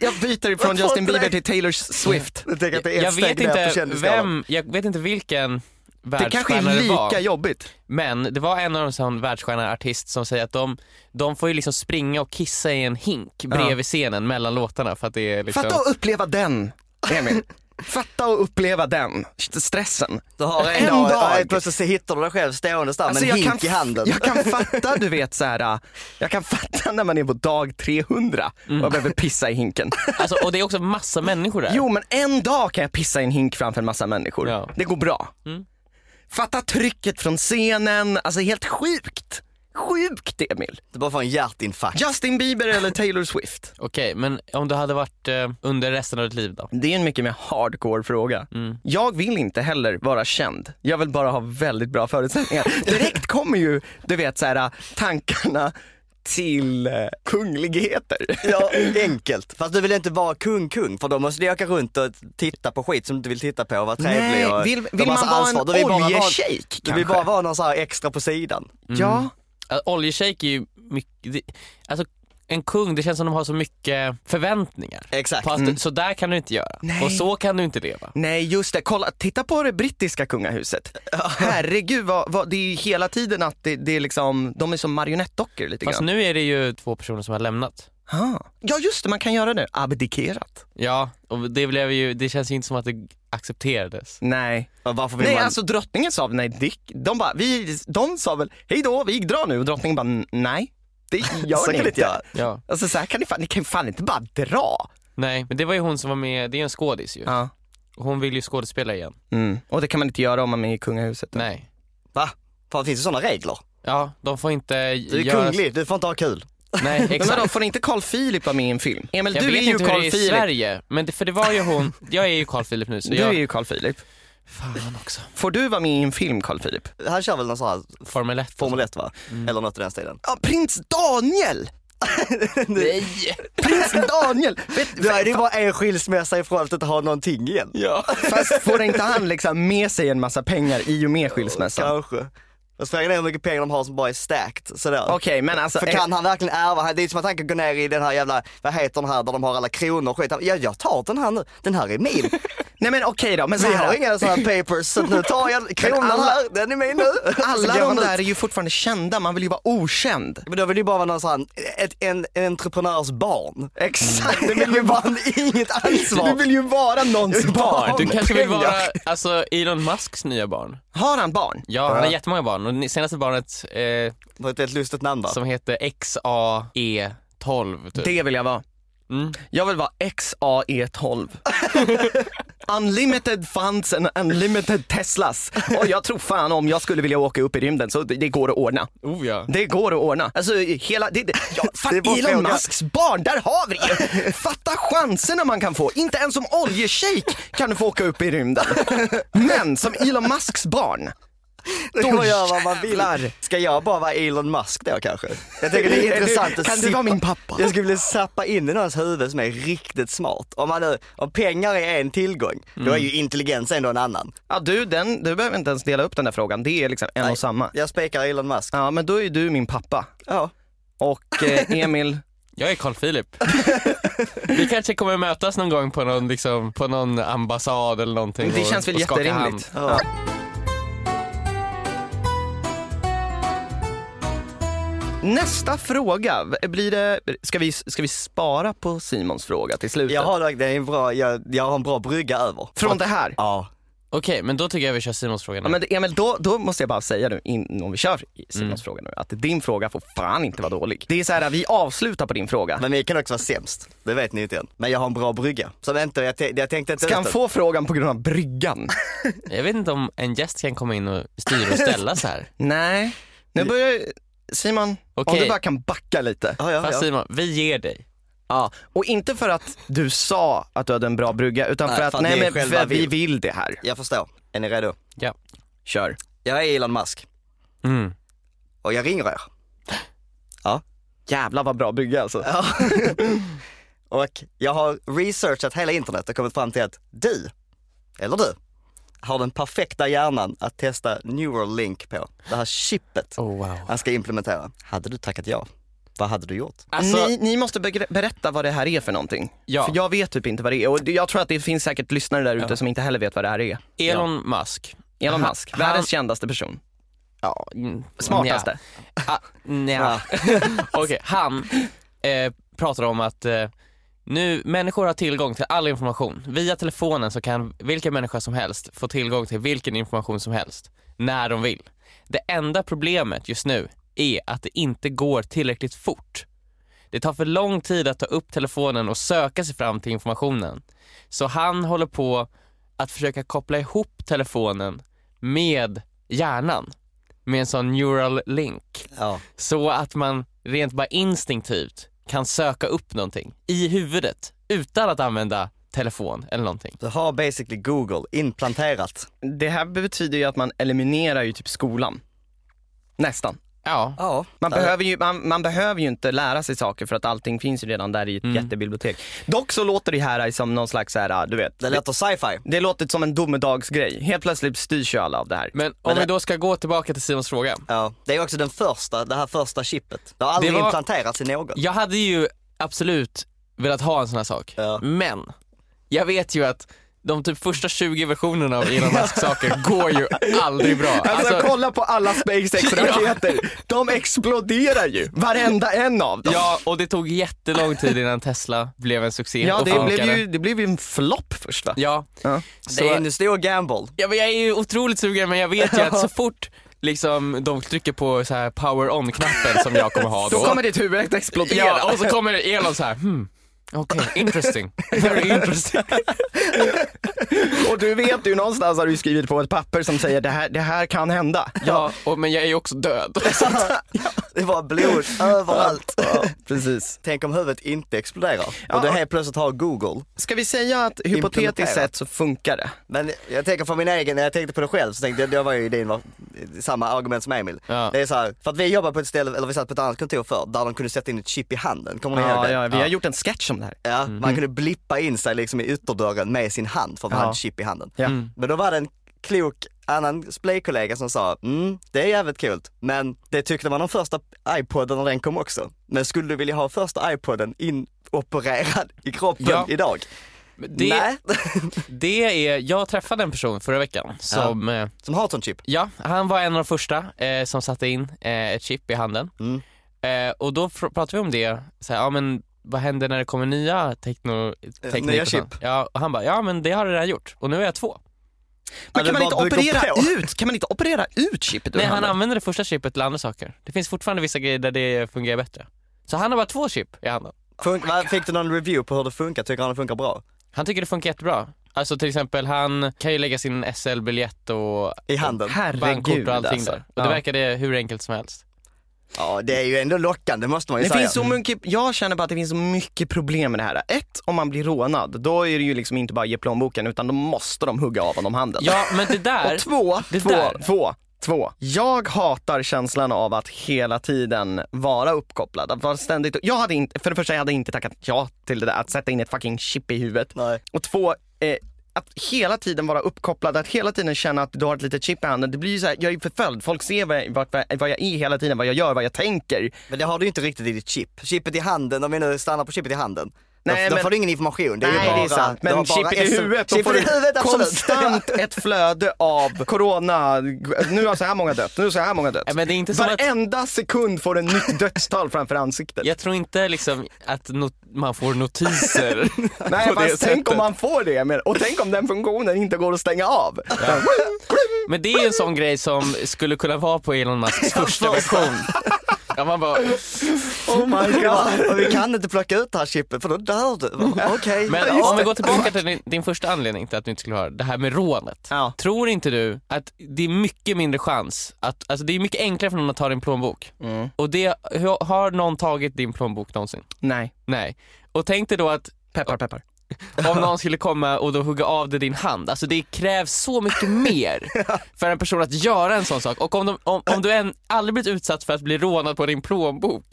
Speaker 2: Jag byter från
Speaker 3: Vad fan Mm.
Speaker 2: Justin
Speaker 3: det där?
Speaker 2: Bieber till Taylor Swift.
Speaker 3: Jag tänker att det är ett
Speaker 1: Jag
Speaker 3: steg
Speaker 1: vet
Speaker 3: ner på
Speaker 1: inte
Speaker 3: kändisskalan.
Speaker 1: vem, jag vet inte vilken
Speaker 2: Det kanske är
Speaker 1: världsstjärna det,
Speaker 2: lika
Speaker 1: var.
Speaker 2: jobbigt.
Speaker 1: Men det var en av de sån världsstjärna artist som säger att de, de får ju liksom springa och kissa i en hink bredvid scenen mellan låtarna för att det är liksom...
Speaker 2: Fatta att uppleva den, Emil. Fatta och uppleva den stressen.
Speaker 3: Du har en,
Speaker 2: En
Speaker 3: dag,
Speaker 2: dag. Alltså,
Speaker 3: och plötsligt så hittar du dig själv ståendes där med en hink i handen.
Speaker 2: jag kan fatta, du vet så här, äh, jag kan fatta när man är på dag 300 och
Speaker 3: Mm.
Speaker 2: jag behöver pissa i hinken.
Speaker 1: Alltså, och det är också massa människor där.
Speaker 2: Jo men en dag kan jag pissa i en hink framför en massa människor.
Speaker 1: Ja.
Speaker 2: Det går bra. Fatta trycket från scenen, alltså helt sjukt. Sjukt Emil.
Speaker 3: Du bara får en hjärtinfarkt.
Speaker 2: Justin Bieber eller Taylor Swift?
Speaker 1: Okej, men om du hade varit eh, under resten av ditt liv då?
Speaker 2: Det är en mycket mer hardcore fråga. Jag vill inte heller vara känd. Jag vill bara ha väldigt bra förutsättningar. Direkt kommer ju, du vet så här, äh, tankarna till eh, kungligheter.
Speaker 3: Ja, enkelt. Fast du vill inte vara kung-kung för då måste du åka runt och titta på skit som du inte vill titta på och vara trevlig
Speaker 2: Nej,
Speaker 3: och
Speaker 2: vill-
Speaker 3: ta
Speaker 2: vill
Speaker 3: massa
Speaker 2: man vara
Speaker 3: ansvar.
Speaker 2: en
Speaker 3: Du vill bara vara-
Speaker 2: oljeshejk,
Speaker 3: Du vill
Speaker 2: kanske? Mm.
Speaker 3: bara vara någon så här extra på sidan.
Speaker 2: Ja,
Speaker 1: Äh, Oljeshejk är ju mycket, det, alltså en kung, det känns som de har så mycket förväntningar.
Speaker 3: Exakt.
Speaker 1: På att, Så där kan du inte göra
Speaker 2: Nej.
Speaker 1: och så kan du inte leva.
Speaker 2: nej just det. Kolla, titta på det brittiska kungahuset. Herregud, vad, vad, det är ju hela tiden att det, det är liksom, de är som marionettdockor lite
Speaker 1: Fast
Speaker 2: grann.
Speaker 1: nu är det ju två personer som har lämnat.
Speaker 2: Ah. Ja just det, man kan göra det. Abdikerat.
Speaker 1: Ja, och det, blev ju, det känns ju inte som att det accepterades.
Speaker 2: Nej.
Speaker 3: Och varför vill
Speaker 2: Nej,
Speaker 3: man...
Speaker 2: alltså drottningen sa väl nej, Dick. De, bara, vi, de sa väl hej då, vi drar nu och drottningen bara nej, det
Speaker 3: Så
Speaker 2: gör ni
Speaker 3: kan vi
Speaker 2: inte.
Speaker 3: inte göra.
Speaker 1: Ja.
Speaker 2: Alltså så här kan ni fan, ni kan ju fan inte bara dra.
Speaker 1: Nej, men det var ju hon som var med, det är ju en skådis ju.
Speaker 2: Ja.
Speaker 1: Hon vill ju skådespela igen.
Speaker 2: Mm. Och det kan man inte göra om man är i kungahuset.
Speaker 1: Nej.
Speaker 3: Va? Fan, finns det sådana regler?
Speaker 1: Ja, de får inte
Speaker 3: Du är
Speaker 1: göra...
Speaker 2: alltså-
Speaker 3: kunglig, du får inte ha kul.
Speaker 1: Nej,
Speaker 2: Men
Speaker 1: exakt.
Speaker 2: vadå, får inte Carl Philip vara med i en film? Emil,
Speaker 1: Jag
Speaker 2: du är
Speaker 1: vet
Speaker 2: ju
Speaker 1: inte hur
Speaker 2: Carl
Speaker 1: det är i
Speaker 2: Philip.
Speaker 1: Sverige, men det, för det var ju hon, jag är ju Carl Philip nu så
Speaker 2: Du är
Speaker 1: jag...
Speaker 2: ju Carl Philip.
Speaker 1: Fan också.
Speaker 2: Får du vara med i en film Carl Philip?
Speaker 3: Han kör väl någon sån här
Speaker 1: Formel 1.
Speaker 3: Formel 1 va?
Speaker 2: Mm.
Speaker 3: Eller något i den stilen.
Speaker 2: Ja, prins Daniel!
Speaker 1: Nej!
Speaker 2: Prins Daniel! Vet,
Speaker 3: Det är ju bara en skilsmässa ifrån att inte ha någonting igen.
Speaker 1: Ja.
Speaker 2: fast får inte han liksom med sig en massa pengar i och med skilsmässan?
Speaker 3: Kanske. Fast frågan är hur mycket pengar de har som bara är stacked sådär.
Speaker 2: Okej, men alltså...
Speaker 3: För kan han verkligen ärva? Det är som att han kan gå ner i den här jävla, vad heter den här där de har alla kronor och skit. Han- Ja, jag tar den här nu, den här är min.
Speaker 2: Nej men okej då, men så
Speaker 3: Vi
Speaker 2: här.
Speaker 3: har inga sådana papers så nu tar jag kronan
Speaker 2: alla-
Speaker 3: här, den är min nu. Så
Speaker 2: Alla
Speaker 3: går
Speaker 2: de
Speaker 3: man ut.
Speaker 2: där är ju fortfarande kända, man vill ju vara okänd.
Speaker 3: Men då vill det ju bara vara någon sån, ett, en, en entreprenörs barn.
Speaker 2: Exakt,
Speaker 3: Det vill ju bara inget
Speaker 2: Du
Speaker 3: ansvar.
Speaker 2: vill ju vara någons barn.
Speaker 1: Du kanske vill vara
Speaker 2: Pengar.
Speaker 1: alltså, Elon Musks nya barn?
Speaker 2: Har han barn?
Speaker 1: Ja, han har jättemånga barn och ni- senaste barnet eh,
Speaker 3: Det var ett väldigt lustigt namn va?
Speaker 1: som heter XAE12 typ.
Speaker 2: Det vill jag vara.
Speaker 1: Mm.
Speaker 2: Jag vill vara XAE12. unlimited funds and unlimited Teslas. Och jag tror fan om jag skulle vilja åka upp i rymden så det, det går att ordna.
Speaker 1: Oh ja.
Speaker 2: Det går att ordna. Alltså hela, det, det, ja, fan,
Speaker 3: Det är bara
Speaker 2: Elon
Speaker 3: fråga.
Speaker 2: Musks barn, där har vi det! Fatta chanserna man kan få. Inte ens som oljeshejk kan du få åka upp i rymden. Men som Elon Musks barn,
Speaker 3: Då
Speaker 2: Då
Speaker 3: gör man vad man
Speaker 2: jävlar.
Speaker 3: vill. Ska jag bara vara Elon Musk då kanske? Jag tänker det är intressant att
Speaker 2: Kan du
Speaker 3: sippa-
Speaker 2: vara min pappa?
Speaker 3: Jag skulle vilja sappa in i någons huvud som är riktigt smart. Om, man nu, om pengar är en tillgång, då
Speaker 2: Mm.
Speaker 3: är ju intelligens ändå en annan.
Speaker 2: Ja, du, den, du behöver inte ens dela upp den där frågan, det är liksom en och samma.
Speaker 3: Jag spikar Elon Musk.
Speaker 2: Ja, men då är ju du min pappa.
Speaker 3: Ja.
Speaker 2: Och eh, Emil,
Speaker 1: Jag är Carl Philip. Vi kanske kommer mötas någon gång på någon, liksom, på någon ambassad eller någonting.
Speaker 2: det
Speaker 1: och-
Speaker 2: känns väl
Speaker 1: och skaka
Speaker 2: jätterimligt.
Speaker 1: hand.
Speaker 3: Ja.
Speaker 2: Nästa fråga, blir det, ska, vi, ska vi spara på Simons fråga till slutet?
Speaker 3: Jag, har, dock- det är en bra, jag, jag har en bra brygga över.
Speaker 2: Från det här?
Speaker 3: Ja.
Speaker 1: Okej, men då tycker jag vi kör Simons fråga nu.
Speaker 2: Ja, men det- Emil, då, då måste jag bara säga nu innan vi kör Simons
Speaker 1: Mm.
Speaker 2: fråga nu, att din fråga får fan inte vara dålig. Det är så här, vi avslutar på din fråga.
Speaker 3: Men vi kan också vara sämst. Det vet ni inte än. Men jag har en bra brygga. Som inte, jag, te- jag tänkte inte
Speaker 2: Ska han
Speaker 3: ut den.
Speaker 2: få frågan på grund av bryggan?
Speaker 1: Jag vet inte om en gäst kan komma in och styra och ställa så här.
Speaker 2: Nej, nu börjar Simon, om
Speaker 1: Okej.
Speaker 2: du bara kan backa lite.
Speaker 3: Ja, ja,
Speaker 1: Fast
Speaker 3: ja.
Speaker 1: Simon, vi ger dig.
Speaker 2: Ja, och inte för att du sa att du hade en bra brygga utan
Speaker 3: Nej,
Speaker 2: för att,
Speaker 3: för att
Speaker 2: nej
Speaker 3: ni
Speaker 2: men
Speaker 3: själva
Speaker 2: för att vi
Speaker 3: vill.
Speaker 2: vill det här.
Speaker 3: jag förstår. Är ni redo?
Speaker 1: Ja.
Speaker 2: Kör.
Speaker 3: Jag är Elon Musk
Speaker 1: Mm.
Speaker 3: och jag ringer er.
Speaker 2: Jävlar vad bra brygga alltså.
Speaker 3: Ja. och jag har researchat hela internet och kommit fram till att du, eller du, har den perfekta hjärnan att testa Neuralink på. Det här chippet
Speaker 1: Oh, wow.
Speaker 2: Alltså,
Speaker 3: han ska implementera. Hade du tackat ja, vad hade du gjort?
Speaker 1: Alltså,
Speaker 2: ni, ni måste begre- berätta vad det här är för någonting.
Speaker 1: Ja.
Speaker 2: För jag vet typ inte vad det är och jag tror att det finns säkert lyssnare där ute som inte heller vet vad det här är.
Speaker 1: Elon Musk.
Speaker 2: Elon
Speaker 1: Han-
Speaker 2: Musk, världens kändaste person.
Speaker 1: Ja, mm,
Speaker 2: Smartaste.
Speaker 1: nja. Ah, nja. Okej, han eh, pratar om att eh, Nu, människor har tillgång till all information. Via telefonen så kan vilken människa som helst få tillgång till vilken information som helst, när de vill. Det enda problemet just nu är att det inte går tillräckligt fort. Det tar för lång tid att ta upp telefonen och söka sig fram till informationen. Så han håller på att försöka koppla ihop telefonen med hjärnan, med en sån neural link
Speaker 3: Ja.
Speaker 1: så att man rent bara instinktivt kan söka upp någonting i huvudet utan att använda telefon eller någonting.
Speaker 3: Du har basically Google implanterat.
Speaker 2: Det här betyder ju att man eliminerar ju typ skolan. Nästan.
Speaker 1: Ja,
Speaker 3: Ja.
Speaker 2: Man, behöver ju, man, man behöver ju inte lära sig saker för att allting finns ju redan där i ett jättebibliotek. Dock så låter det här som någon slags, så här, du vet,
Speaker 3: Det låter sci-fi.
Speaker 2: det låter som en domedagsgrej. Helt plötsligt styrs ju alla av det här.
Speaker 1: men om vi då ska gå tillbaka till Simons fråga.
Speaker 3: Ja. Det är också den första, det här första chippet. Det har aldrig
Speaker 1: Det var-
Speaker 3: implanterats i någon.
Speaker 1: Jag hade ju absolut velat ha en sån här sak,
Speaker 3: Ja.
Speaker 1: men jag vet ju att de typ första 20 versionerna av Elon Musk saker går ju aldrig bra.
Speaker 2: Alltså,
Speaker 1: Alltså,
Speaker 2: kolla på alla SpaceX-raketer. De exploderar ju, varenda en av dem.
Speaker 1: ja, och det tog jättelång tid innan Tesla blev en succé
Speaker 2: Ja,
Speaker 1: och
Speaker 2: det
Speaker 1: funkade.
Speaker 2: blev, ju, det blev ju en flopp först va?
Speaker 1: Ja,
Speaker 3: Det är en stor gamble.
Speaker 1: Ja men jag är ju otroligt sugen men jag vet ju att så fort liksom de trycker på så här power on knappen som jag kommer ha då.
Speaker 2: Då kommer ditt huvud att explodera.
Speaker 1: ja, och så kommer Elon så här hmm. Okej, interesting. Very interesting.
Speaker 2: Och du vet ju någonstans har du skrivit på ett papper som säger det här, det här kan hända.
Speaker 1: Ja, och, men jag är ju också död.
Speaker 3: Det var blod överallt.
Speaker 2: Precis.
Speaker 3: Tänk om huvudet inte exploderar
Speaker 2: Ja.
Speaker 3: och du helt plötsligt har Google.
Speaker 2: Ska vi säga att hypotetiskt
Speaker 3: Implementera.
Speaker 2: sett så funkar det?
Speaker 3: Men jag tänker för min egen, när jag tänkte på det själv så tänkte jag, det var ju din, var, samma argument som Emil.
Speaker 1: Ja.
Speaker 3: Det är så här, för att vi jobbar på ett ställe, eller vi satt på ett annat kontor förr, där de kunde sätta in ett chip i handen. Kommer ni ihåg
Speaker 2: Ja,
Speaker 3: det?
Speaker 2: ja, Mm. vi har gjort en sketch om det här.
Speaker 3: Ja, man kunde blippa in sig liksom i ytterdörren med sin hand för att man
Speaker 2: Ja.
Speaker 3: hade chip i handen.
Speaker 2: Ja.
Speaker 3: Men då var det en klok annan playkollega som sa, mm, det är jävligt kul men det tyckte man om första iPoden när den kom också. Men skulle du vilja ha första iPoden inopererad i kroppen
Speaker 1: Ja.
Speaker 3: idag?
Speaker 1: Det,
Speaker 3: Nej,
Speaker 1: det är, jag träffade en person förra veckan som, ja,
Speaker 3: som har ett sånt chip.
Speaker 1: ja han var en av de första eh, som satte in eh, ett chip i handen.
Speaker 3: Mm.
Speaker 1: Eh, och då fr- pratade vi om det, så här, ja men vad händer när det kommer nya tekno, teknik?
Speaker 3: nya
Speaker 1: och sånt?
Speaker 3: chip.
Speaker 1: Ja, och han bara, ja men det har det redan gjort och nu är jag två.
Speaker 2: Men
Speaker 3: det
Speaker 2: kan man, inte
Speaker 3: bara dyker
Speaker 2: operera
Speaker 3: på.
Speaker 2: ut? kan man inte operera ut chippet ur
Speaker 1: Nej, han
Speaker 2: handen?
Speaker 1: använder det första chipet till andra saker. Det finns fortfarande vissa grejer där det fungerar bättre. Så han har bara två chip i handen.
Speaker 3: Fun- vad- Fick du någon review på hur det funkar? Tycker han det funkar bra?
Speaker 1: Han tycker det funkar jättebra. Alltså till exempel, han kan ju lägga sin SL-biljett och
Speaker 3: I handen?
Speaker 1: bankkort
Speaker 2: Herregud
Speaker 1: och allting
Speaker 2: alltså.
Speaker 1: där. Och
Speaker 2: ja.
Speaker 1: det verkade hur enkelt som helst.
Speaker 3: Ja, det är ju ändå lockande måste man ju
Speaker 2: Det
Speaker 3: säga.
Speaker 2: finns så
Speaker 1: Mm.
Speaker 2: mycket, jag känner bara att det finns så mycket problem med det här. Ett, om man blir rånad, då är det ju liksom inte bara att ge plånboken utan då måste de hugga av honom handen.
Speaker 1: Ja, men det där...
Speaker 2: Och två,
Speaker 1: Det
Speaker 2: två,
Speaker 1: där.
Speaker 2: två, två. Jag hatar känslan av att hela tiden vara uppkopplad. Att vara ständigt, jag hade inte, för det första jag hade inte tackat ja till det där, att sätta in ett fucking chip i huvudet.
Speaker 3: Nej.
Speaker 2: Och två, eh, att hela tiden vara uppkopplad, att hela tiden känna att du har ett litet chip i handen. Det blir ju så här, jag är ju förföljd, folk ser vad jag, vart- vad jag är hela tiden, vad jag gör, vad jag tänker.
Speaker 3: Men det har du ju inte riktigt i ditt chip. Chippet i handen, om vi nu stannar på chippet i handen.
Speaker 2: Nej,
Speaker 3: Nej, då,
Speaker 2: men-
Speaker 3: får du ingen information. Det är
Speaker 2: Nej
Speaker 3: ju bara,
Speaker 2: det är sant,
Speaker 3: du
Speaker 2: men
Speaker 3: har bara
Speaker 2: chippet i
Speaker 3: SM
Speaker 2: huvudet, då
Speaker 3: Chippet
Speaker 2: får
Speaker 3: i huvudet,
Speaker 2: du
Speaker 3: absolut.
Speaker 2: konstant ett flöde av corona, nu har så här många dött, nu har så här många dött.
Speaker 1: Ja, men det är inte som att...
Speaker 2: Varenda sekund får du en nytt dödstal framför ansiktet.
Speaker 1: Jag tror inte liksom att not- man får notiser
Speaker 2: Nej
Speaker 1: på det
Speaker 2: fast tänk om
Speaker 1: sättet.
Speaker 2: man får det, men, och tänk om den funktionen inte går att stänga av.
Speaker 1: Men det är ju en sån grej som skulle kunna vara på Elon Musks första version. Ja, man bara,
Speaker 2: Oh my
Speaker 3: Ja, och vi kan inte plocka ut det här chippet för då dör du. Okej.
Speaker 1: men
Speaker 3: Ja.
Speaker 1: om vi går tillbaka till din, din första anledning till att du inte skulle höra det här med rånet.
Speaker 2: Ja.
Speaker 1: Tror inte du att det är mycket mindre chans, att, alltså det är mycket enklare för någon att ta din plånbok.
Speaker 2: Mm.
Speaker 1: Och det, hur- har någon tagit din plånbok någonsin?
Speaker 2: Nej,
Speaker 1: Nej. Och tänk dig då att
Speaker 2: peppar peppar.
Speaker 1: om någon skulle komma och då hugga av dig din hand, alltså det krävs så mycket mer för en person att göra en sån sak. Och om, de, om, om du än aldrig blivit utsatt för att bli rånad på din plånbok,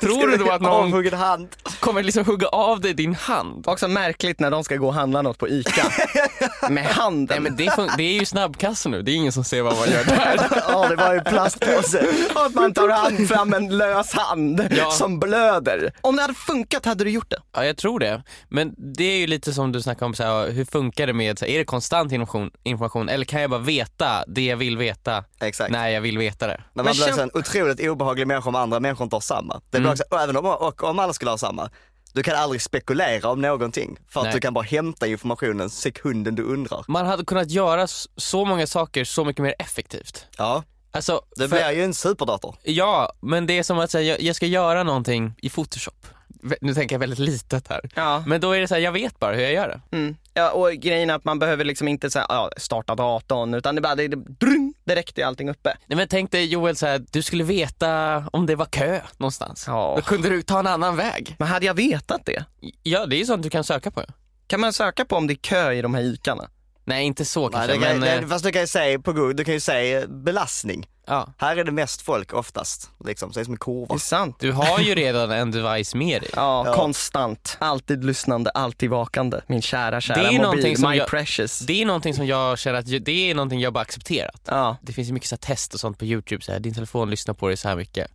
Speaker 1: tror du då att någon
Speaker 3: Avhuggen hand.
Speaker 1: kommer liksom hugga av dig din hand?
Speaker 2: Också märkligt när de ska gå och handla något på ICA. Med handen.
Speaker 1: Nej men det, fun- det är ju snabbkassa nu, det är ingen som ser vad man gör där.
Speaker 3: Ja, det var ju en plastpåse.
Speaker 2: Och att man tar hand fram en lös hand
Speaker 1: Ja.
Speaker 2: som blöder. Om det hade funkat hade du gjort det.
Speaker 1: Ja jag tror det. Men det är ju lite som du snackade om, så här, hur funkar det med, så här, är det konstant information, information eller kan jag bara veta det jag vill veta
Speaker 3: Exakt.
Speaker 1: när jag vill veta det?
Speaker 3: Men
Speaker 2: Men
Speaker 3: man blir
Speaker 2: känn-
Speaker 1: Mm.
Speaker 3: också en otroligt obehaglig människa om andra människor inte har samma. Det blir också, och även om, och om alla skulle ha samma, Du kan aldrig spekulera om någonting för att
Speaker 1: Nej.
Speaker 3: du kan bara hämta informationen sekunden du undrar.
Speaker 1: Man hade kunnat göra s- så många saker så mycket mer effektivt.
Speaker 3: Ja,
Speaker 1: Alltså,
Speaker 3: det
Speaker 1: för-
Speaker 3: blir ju en superdator.
Speaker 1: Ja, men det är som att säga, jag, jag ska göra någonting i Photoshop. Vä- Nu tänker jag väldigt litet här.
Speaker 2: Ja.
Speaker 1: Men då är det så här, jag vet bara hur jag gör det.
Speaker 2: Mm. Ja, och grejen är att man behöver liksom inte så här, ja, starta datorn utan det bara, det, det, drung, direkt är allting uppe.
Speaker 1: Nej, men tänk dig Joel, så här, du skulle veta om det var kö någonstans.
Speaker 2: Ja.
Speaker 1: Då kunde du ta en annan väg.
Speaker 2: Men hade jag vetat det?
Speaker 1: Ja, det är ju sånt du kan söka på.
Speaker 2: Kan man söka på om det är kö i de här ikarna?
Speaker 1: Nej, inte så
Speaker 3: Nej,
Speaker 1: kanske,
Speaker 3: det kan,
Speaker 1: men...
Speaker 3: det,
Speaker 1: eh,
Speaker 3: fast du kan ju säga på Google, du kan ju säga belastning.
Speaker 1: ja.
Speaker 3: Här är det mest folk oftast, liksom. Så det är som en
Speaker 2: Det
Speaker 3: kurva.
Speaker 2: är sant.
Speaker 1: Du har ju redan en device med dig.
Speaker 2: Ja,
Speaker 3: Ja.
Speaker 2: konstant. Alltid lyssnande, alltid vakande. Min kära, kära
Speaker 1: Det är någonting
Speaker 2: mobil,
Speaker 1: som
Speaker 2: my
Speaker 1: jag-
Speaker 2: precious.
Speaker 1: Det är någonting som jag känner att, ju- det är någonting jag bara accepterat.
Speaker 2: Ja.
Speaker 1: Det finns ju mycket så här test och sånt på YouTube, så här, din telefon lyssnar på dig så här mycket.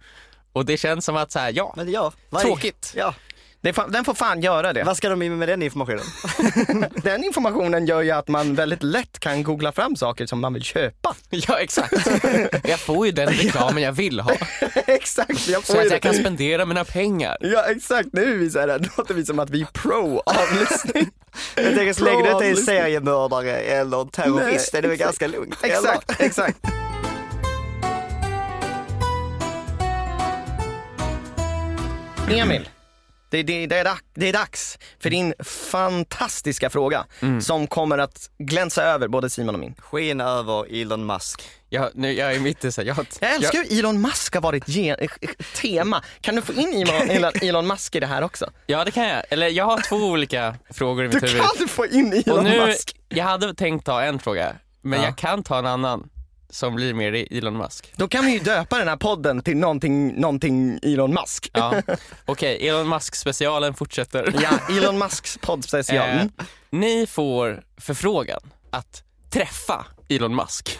Speaker 1: Och det känns som att så här, ja,
Speaker 3: Men ja, vad är-
Speaker 1: tråkigt.
Speaker 3: Ja,
Speaker 2: Det är fan, den får fan göra det.
Speaker 3: vad ska de med den informationen?
Speaker 2: Den informationen gör ju att man väldigt lätt kan googla fram saker som man vill köpa.
Speaker 1: Ja exakt. Jag får ju den reklamen jag vill ha.
Speaker 2: exakt, jag
Speaker 1: Så
Speaker 2: får ju
Speaker 1: att
Speaker 2: det.
Speaker 1: jag kan spendera mina pengar.
Speaker 2: Ja exakt, nu är vi så här, låter vi som att vi är pro avlyssning.
Speaker 3: Jag tänker så länge du inte är en
Speaker 2: Avlyssning.
Speaker 3: seriemördare eller en terrorist
Speaker 2: Nej,
Speaker 3: är det väl
Speaker 2: exakt.
Speaker 3: ganska lugnt? eller?
Speaker 2: Exakt, exakt. Emil, det, det, det, är dags, det är dags för din fantastiska fråga
Speaker 1: Mm.
Speaker 2: som kommer att glänsa över både Simon och min.
Speaker 3: Skina över Elon Musk.
Speaker 1: Jag, nu, jag är mitt i så här, jag,
Speaker 2: Jag älskar hur Elon Musk har varit gen- tema. Kan du få in Elon- Elon, Elon Musk i det här också?
Speaker 1: Ja det kan jag. Eller jag har två olika frågor i mitt huvud.
Speaker 2: du få in Elon
Speaker 1: Och nu, jag hade tänkt ta en fråga, men
Speaker 2: Ja.
Speaker 1: jag kan ta en annan som blir mer i Elon Musk.
Speaker 2: Då kan vi ju döpa den här podden till någonting, någonting Elon Musk.
Speaker 1: Ja. Okej, Elon Musk specialen fortsätter.
Speaker 2: Ja, Elon Musks poddspecial.
Speaker 1: Eh,
Speaker 2: Mm.
Speaker 1: ni får förfrågan att träffa Elon Musk.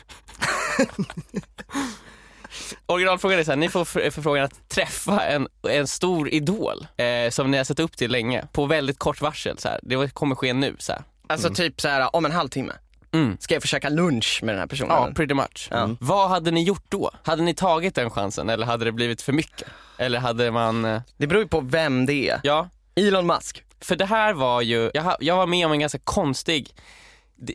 Speaker 1: Originalfrågan är så här, ni får för- förfrågan att träffa en, en stor idol eh, som ni har sett upp till länge på väldigt kort varsel. Så här. Det kommer ske nu. Så här.
Speaker 2: Alltså typ så här om en halvtimme.
Speaker 1: Mm.
Speaker 2: Ska jag försöka lunch med den här personen?
Speaker 1: Ja, pretty much. Mm. Vad hade ni gjort då? Hade ni tagit den chansen eller hade det blivit för mycket? Eller hade man, eh,
Speaker 2: Det beror ju på vem det är.
Speaker 1: ja,
Speaker 2: Elon Musk.
Speaker 1: För det här var ju, jag, ha- jag var med om en ganska konstig, det,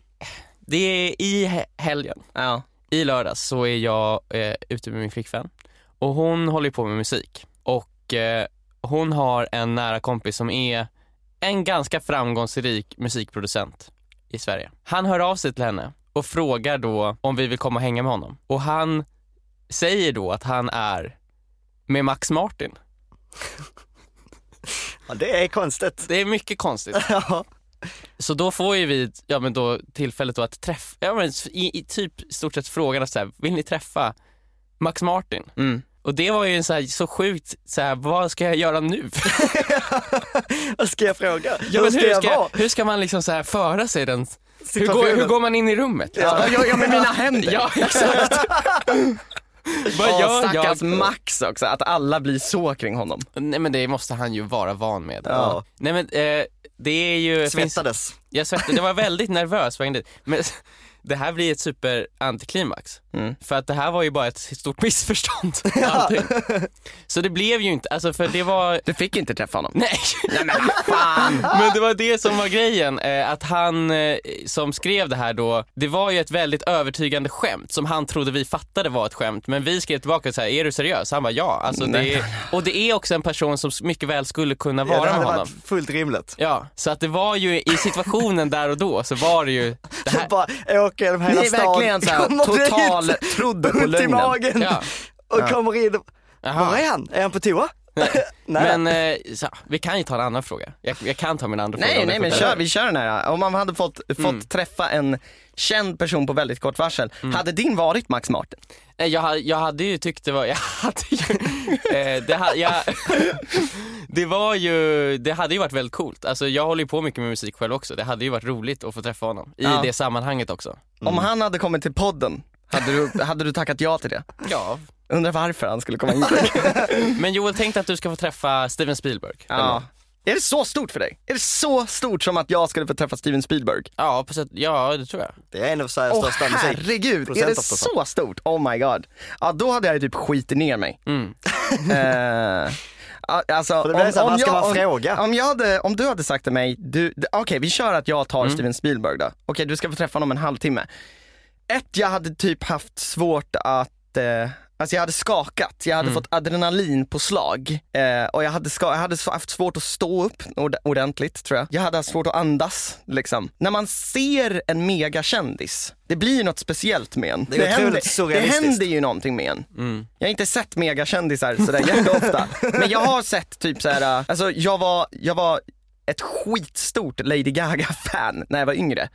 Speaker 1: det är i he- helgen,
Speaker 2: Ja.
Speaker 1: i lördags så är jag eh, ute med min flickvän och hon håller ju på med musik och eh, hon har en nära kompis som är en ganska framgångsrik musikproducent i Sverige. Han hör av sig till henne och frågar då om vi vill komma och hänga med honom och han säger då att han är med Max Martin.
Speaker 3: Ja, det är konstigt.
Speaker 1: Det är mycket konstigt.
Speaker 3: Ja.
Speaker 1: Så då får ju vi ja, men då tillfället då att träffa, ja, men i, i typ stort sett frågan att så här, vill ni träffa Max Martin?
Speaker 2: Mm.
Speaker 1: Och det var ju en så, här, så sjukt, så här, vad ska jag göra nu?
Speaker 3: Vad ska jag fråga?
Speaker 1: Ja,
Speaker 3: hur
Speaker 1: men
Speaker 3: ska jag vara?
Speaker 1: hur ska man liksom så här föra sig i den, hur
Speaker 3: Situationen.
Speaker 1: går, hur går man in i rummet?
Speaker 2: Ja, ja, ja, med mina händer.
Speaker 1: Ja exakt. vad
Speaker 2: Åh,
Speaker 1: gör
Speaker 2: stackars
Speaker 1: jag?
Speaker 2: Max också, att alla blir så kring honom.
Speaker 1: Nej men det måste han ju vara van med.
Speaker 3: Ja.
Speaker 1: Nej men eh, det är ju... finns-
Speaker 3: Svettades.
Speaker 1: Jag svettades, det var väldigt nervös vägen dit. Men det här blir ett super antiklimax.
Speaker 2: Mm.
Speaker 1: För att det här var ju bara ett stort missförstånd. Allting. Så det blev ju inte, alltså för det var,
Speaker 2: Du fick inte träffa honom.
Speaker 1: nej.
Speaker 2: Nej men fan.
Speaker 1: Men det var det som var grejen, eh, att han eh, som skrev det här då, det var ju ett väldigt övertygande skämt som han trodde vi fattade var ett skämt. Men vi skrev tillbaka så här, är du seriös? Han var ja. Alltså, det är, och det är också en person som mycket väl skulle kunna vara
Speaker 3: Ja, det
Speaker 1: med
Speaker 3: hade
Speaker 1: honom.
Speaker 3: varit fullt rimligt.
Speaker 1: Ja, så att det var ju i situationen där och då så var det ju det här.
Speaker 3: Bara åker genom
Speaker 2: Det
Speaker 3: hela
Speaker 2: är
Speaker 3: stan.
Speaker 2: verkligen såhär
Speaker 3: kommer
Speaker 2: total
Speaker 3: dit,
Speaker 2: trodde på
Speaker 3: Ont i
Speaker 2: lögnen.
Speaker 3: magen.
Speaker 1: Ja.
Speaker 3: Och kommer in. Var
Speaker 1: Jaha.
Speaker 3: är han? Är han på toa? Nej.
Speaker 1: Men eh, så, vi kan ju ta en annan fråga. Jag, jag kan ta min andra fråga.
Speaker 2: Nej,
Speaker 1: om
Speaker 2: nej
Speaker 1: det
Speaker 2: men
Speaker 1: funkar.
Speaker 2: kör, vi kör den här. Om man hade fått, fått träffa en känd person på väldigt kort varsel, hade din varit Max Martin?
Speaker 1: Nej, Eh, jag, ha- jag hade ju tyckt det var, jag hade ju, eh, det, ha, jag, det var ju, det hade ju varit väldigt coolt. Alltså jag håller ju på mycket med musik själv också. Det hade ju varit roligt att få träffa honom i
Speaker 2: Ja.
Speaker 1: det sammanhanget också.
Speaker 2: Om han hade kommit till podden, hade du, hade du tackat ja till det?
Speaker 1: Ja.
Speaker 2: Undrar varför han skulle komma in till
Speaker 1: Men Joel, tänk dig att du ska få träffa Steven Spielberg.
Speaker 2: Ja. Är det så stort för dig? Är det så stort som att jag skulle få träffa Steven Spielberg?
Speaker 1: Ja, på sätt, ja, det tror jag.
Speaker 3: Det är en av Sveriges
Speaker 2: Åh
Speaker 3: största musik.
Speaker 2: herregud, är det
Speaker 3: Procent ofta så.
Speaker 2: så stort? Oh my god. Ja, då hade jag ju typ skitit ner mig. Eh, a- alltså,
Speaker 3: Mm. För det blir så här, vad ska man fråga?
Speaker 2: Om, jag hade, om du hade sagt till mig, du- d- okej vi kör att jag
Speaker 3: Mm.
Speaker 2: tar Steven Spielberg då. Okej du ska få träffa honom en halvtimme. Ett, jag hade typ haft svårt att eh, Alltså jag hade skakat, jag hade
Speaker 3: Mm.
Speaker 2: fått adrenalin på slag eh, och jag hade, ska, jag hade s- haft svårt att stå upp ord- ordentligt tror jag. Jag hade haft svårt att andas liksom. När man ser en megakändis, det blir ju något speciellt med en.
Speaker 3: är otroligt
Speaker 2: det
Speaker 3: surrealistiskt. Mm.
Speaker 2: händer ju någonting med en. Jag har inte sett megakändisar sådär jätteofta. men jag har sett typ såhär, alltså jag var, jag var ett skitstort Lady Gaga-fan när jag var yngre.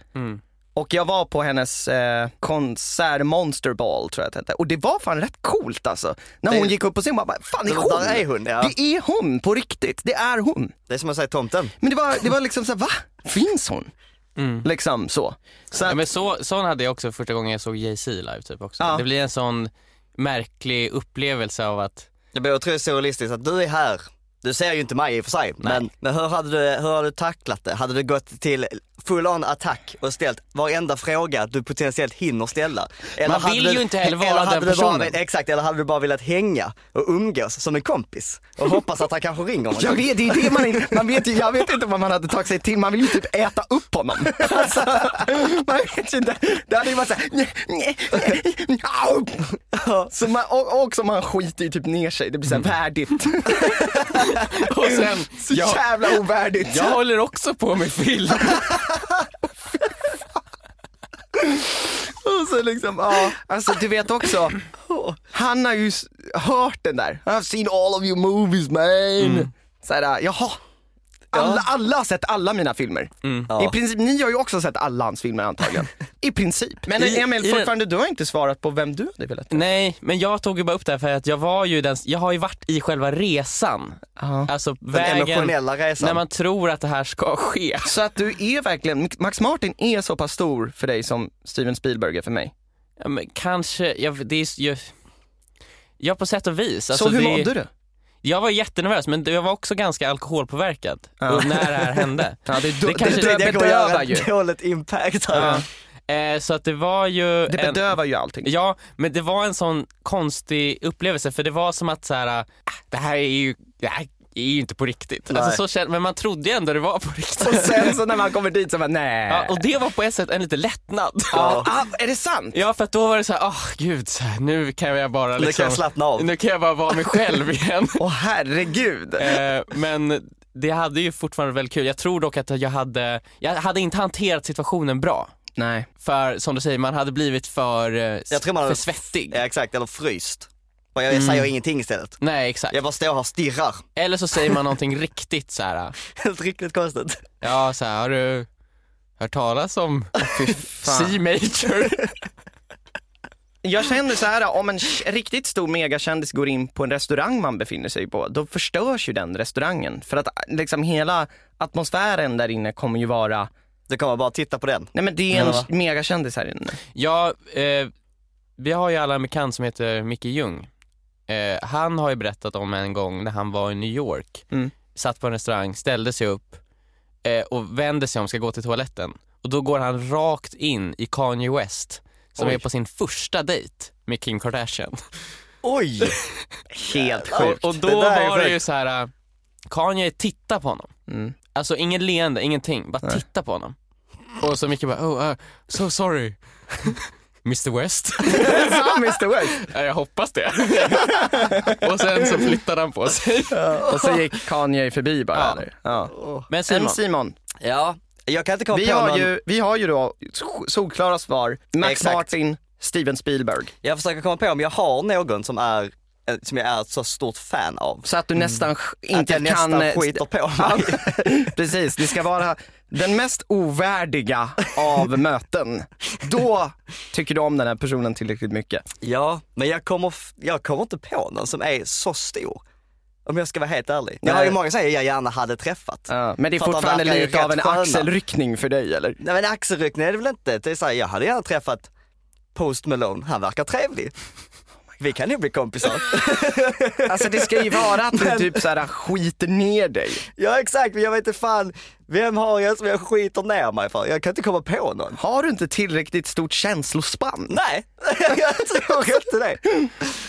Speaker 2: Och jag var på hennes eh, konsert Monster Ball tror jag att det hette. Och det var fan rätt coolt alltså. När hon
Speaker 3: Det-
Speaker 2: gick upp på scen, man bara, fan är
Speaker 3: Där
Speaker 2: hon?
Speaker 3: är hon, ja.
Speaker 2: Det är hon på riktigt, det är hon.
Speaker 3: Det är som att säga tomten.
Speaker 2: Men det var, det var liksom såhär, va? Finns hon?
Speaker 3: Mm.
Speaker 2: Liksom så. så
Speaker 1: Ja,
Speaker 2: att,
Speaker 1: men så, sån hade jag också första gången jag såg Jay-Z live typ också.
Speaker 2: Ja.
Speaker 1: Det blir en sån märklig upplevelse av att
Speaker 3: Det blir otroligt surrealistiskt att du är här. Du ser ju inte mig i och för sig, men, men hur, hade du, hur har du tacklat det? Hade du gått till full on attack och ställt varenda fråga du potentiellt hinner ställa? Eller
Speaker 1: Man
Speaker 3: hade
Speaker 1: vill
Speaker 3: du-
Speaker 1: ju inte heller vara
Speaker 3: eller hade
Speaker 1: den
Speaker 3: du bara
Speaker 1: personen.
Speaker 3: vill- exakt, eller hade du bara velat hänga och umgås som en kompis och hoppas att han kanske ringer någon
Speaker 2: jag
Speaker 3: gång?
Speaker 2: vet, det är det man, inte- man vet ju, jag vet inte vad man hade tagit sig till, man vill ju typ äta upp honom. Alltså, man vet ju inte, det hade ju varit såhär, nej, nej, nej, au. så man, och, och som man skiter ju typ ner sig, det blir såhär värdigt.
Speaker 1: Mm. Och sen,
Speaker 2: Så
Speaker 1: jag,
Speaker 2: jävla ovärdigt.
Speaker 1: jag håller också på med film.
Speaker 2: Och så liksom, ja. Alltså du vet också, han har ju s- hört den där. I've seen all of your movies man.
Speaker 1: Mm.
Speaker 2: Så här, jaha. Alla, alla har sett alla mina filmer. I
Speaker 3: Ja.
Speaker 2: princip, ni har ju också sett alla hans filmer antagligen. I princip. Men
Speaker 1: I-
Speaker 2: Emil,
Speaker 1: i den-
Speaker 2: fortfarande, du har inte svarat på vem du hade velat
Speaker 1: Nej, men jag tog ju bara upp det här för att jag var ju den, jag har ju varit i själva resan. Alltså vägen,
Speaker 3: emotionella resan.
Speaker 1: när man tror att det här ska ske.
Speaker 2: Så att du är verkligen, Max Martin är så pass stor för dig som Steven Spielberg är för mig.
Speaker 1: Ja, men kanske, jag, det är ju, ja på sätt och vis. Alltså,
Speaker 2: så hur
Speaker 1: det,
Speaker 2: mådde du?
Speaker 1: Jag var jättenervös men jag var också ganska alkoholpåverkad och när det här hände.
Speaker 2: Ja, det, det,
Speaker 1: kanske-
Speaker 2: det,
Speaker 3: det kommer
Speaker 2: bedövar
Speaker 3: göra
Speaker 2: ju.
Speaker 3: ett dåligt impact här.
Speaker 1: Eh, så att det var ju
Speaker 2: Det
Speaker 1: en,
Speaker 2: bedövar ju allting.
Speaker 1: Ja, men det var en sån konstig upplevelse för det var som att så här, äh, det här är ju, det här är ju inte på riktigt. Alltså, så kände, men man trodde ju ändå det var på riktigt.
Speaker 2: Och sen så när man kommer dit så bara, nej.
Speaker 3: Eh.
Speaker 1: Ja, och det var på ett sätt en lite lättnad.
Speaker 2: Ja. Ah, är det sant?
Speaker 1: Ja för att då var det så här, åh gud, så här, nu kan jag bara liksom,
Speaker 3: Nu kan jag slappna av.
Speaker 1: Nu kan jag bara vara mig själv igen.
Speaker 2: Åh herregud.
Speaker 1: Eh, men det hade ju fortfarande väldigt kul. Jag tror dock att jag hade, jag hade inte hanterat situationen bra.
Speaker 2: Nej.
Speaker 1: För som du säger, man hade blivit för, eh,
Speaker 3: Jag tror man
Speaker 1: för
Speaker 3: hade-
Speaker 1: svettig.
Speaker 3: Ja, exakt, eller fryst. Och jag säger ingenting istället.
Speaker 1: Nej exakt.
Speaker 3: Jag bara står här och stirrar.
Speaker 1: Eller så säger man någonting riktigt så här.
Speaker 3: Helt riktigt konstigt.
Speaker 1: Ja, så här, har du hört talas om C-major?
Speaker 2: Jag känner så här, om en sh- riktigt stor megakändis går in på en restaurang man befinner sig på, då förstörs ju den restaurangen. För att liksom hela atmosfären där inne kommer ju vara,
Speaker 3: Du kommer bara titta på den.
Speaker 2: nej men det är en
Speaker 3: Ja.
Speaker 2: sh- megakändis här inne.
Speaker 1: ja, eh, vi har ju alla en bekant som heter Micke Ljung. Eh, han har ju berättat om en gång när han var i New York,
Speaker 2: Mm.
Speaker 1: satt på en restaurang, ställde sig upp eh, och vände sig om, ska gå till toaletten. Och då går han rakt in i Kanye West som
Speaker 2: Oj.
Speaker 1: är på sin första dejt med Kim Kardashian.
Speaker 3: Oj!
Speaker 2: Helt sjukt.
Speaker 1: Och, och då
Speaker 3: Det där är
Speaker 1: var det
Speaker 3: sjukt.
Speaker 1: ju så här, eh, Kanye tittar på honom.
Speaker 2: Mm.
Speaker 1: Alltså ingen leende, ingenting. Bara titta på honom. Och så Micke bara, oh, uh, so sorry. Mr West.
Speaker 2: Så, Mr West.
Speaker 1: Ja, jag hoppas det. och sen så flyttade han på sig.
Speaker 2: Och så gick Kanye förbi bara.
Speaker 1: Ja.
Speaker 2: Eller? Ja.
Speaker 1: Men Simon,
Speaker 2: Sen Simon,
Speaker 3: Ja, jag kan inte komma
Speaker 2: vi
Speaker 3: på
Speaker 2: har,
Speaker 3: någon...
Speaker 2: ju, vi har ju då solklara svar, Max
Speaker 3: Exakt.
Speaker 2: Martin, Steven Spielberg.
Speaker 3: Jag försöker komma på om jag har någon som, är, eh, som jag är ett så stort fan av.
Speaker 2: Så Mm. att du nästan sch-
Speaker 3: Att
Speaker 2: inte
Speaker 3: jag
Speaker 2: kan... eh,
Speaker 3: nästan skiter på mig.
Speaker 2: Precis, det ska vara den mest ovärdiga av möten. Då tycker du om den här personen tillräckligt mycket.
Speaker 3: Ja, men jag kommer, f- jag kommer inte på någon som är så stor. Om jag ska vara helt ärlig. Jag har ju
Speaker 2: Nej.
Speaker 3: många som jag gärna hade träffat.
Speaker 2: men det är
Speaker 3: För att de
Speaker 2: fortfarande
Speaker 3: verkar ju
Speaker 2: lite av en
Speaker 3: rätt sköna.
Speaker 2: axelryckning för dig eller?
Speaker 3: Nej men axelryckning är det väl inte. Det är så här, jag hade gärna träffat Post Malone, han verkar trevlig. Vi kan ju bli kompisar.
Speaker 2: Alltså det ska ju vara att du typ så här skiter ner dig.
Speaker 3: ja exakt, men jag vet inte fan, vem har jag som jag skiter ner mig för? Jag kan inte komma på någon.
Speaker 2: Har du inte tillräckligt stort känslospann?
Speaker 3: Nej, jag tror inte det.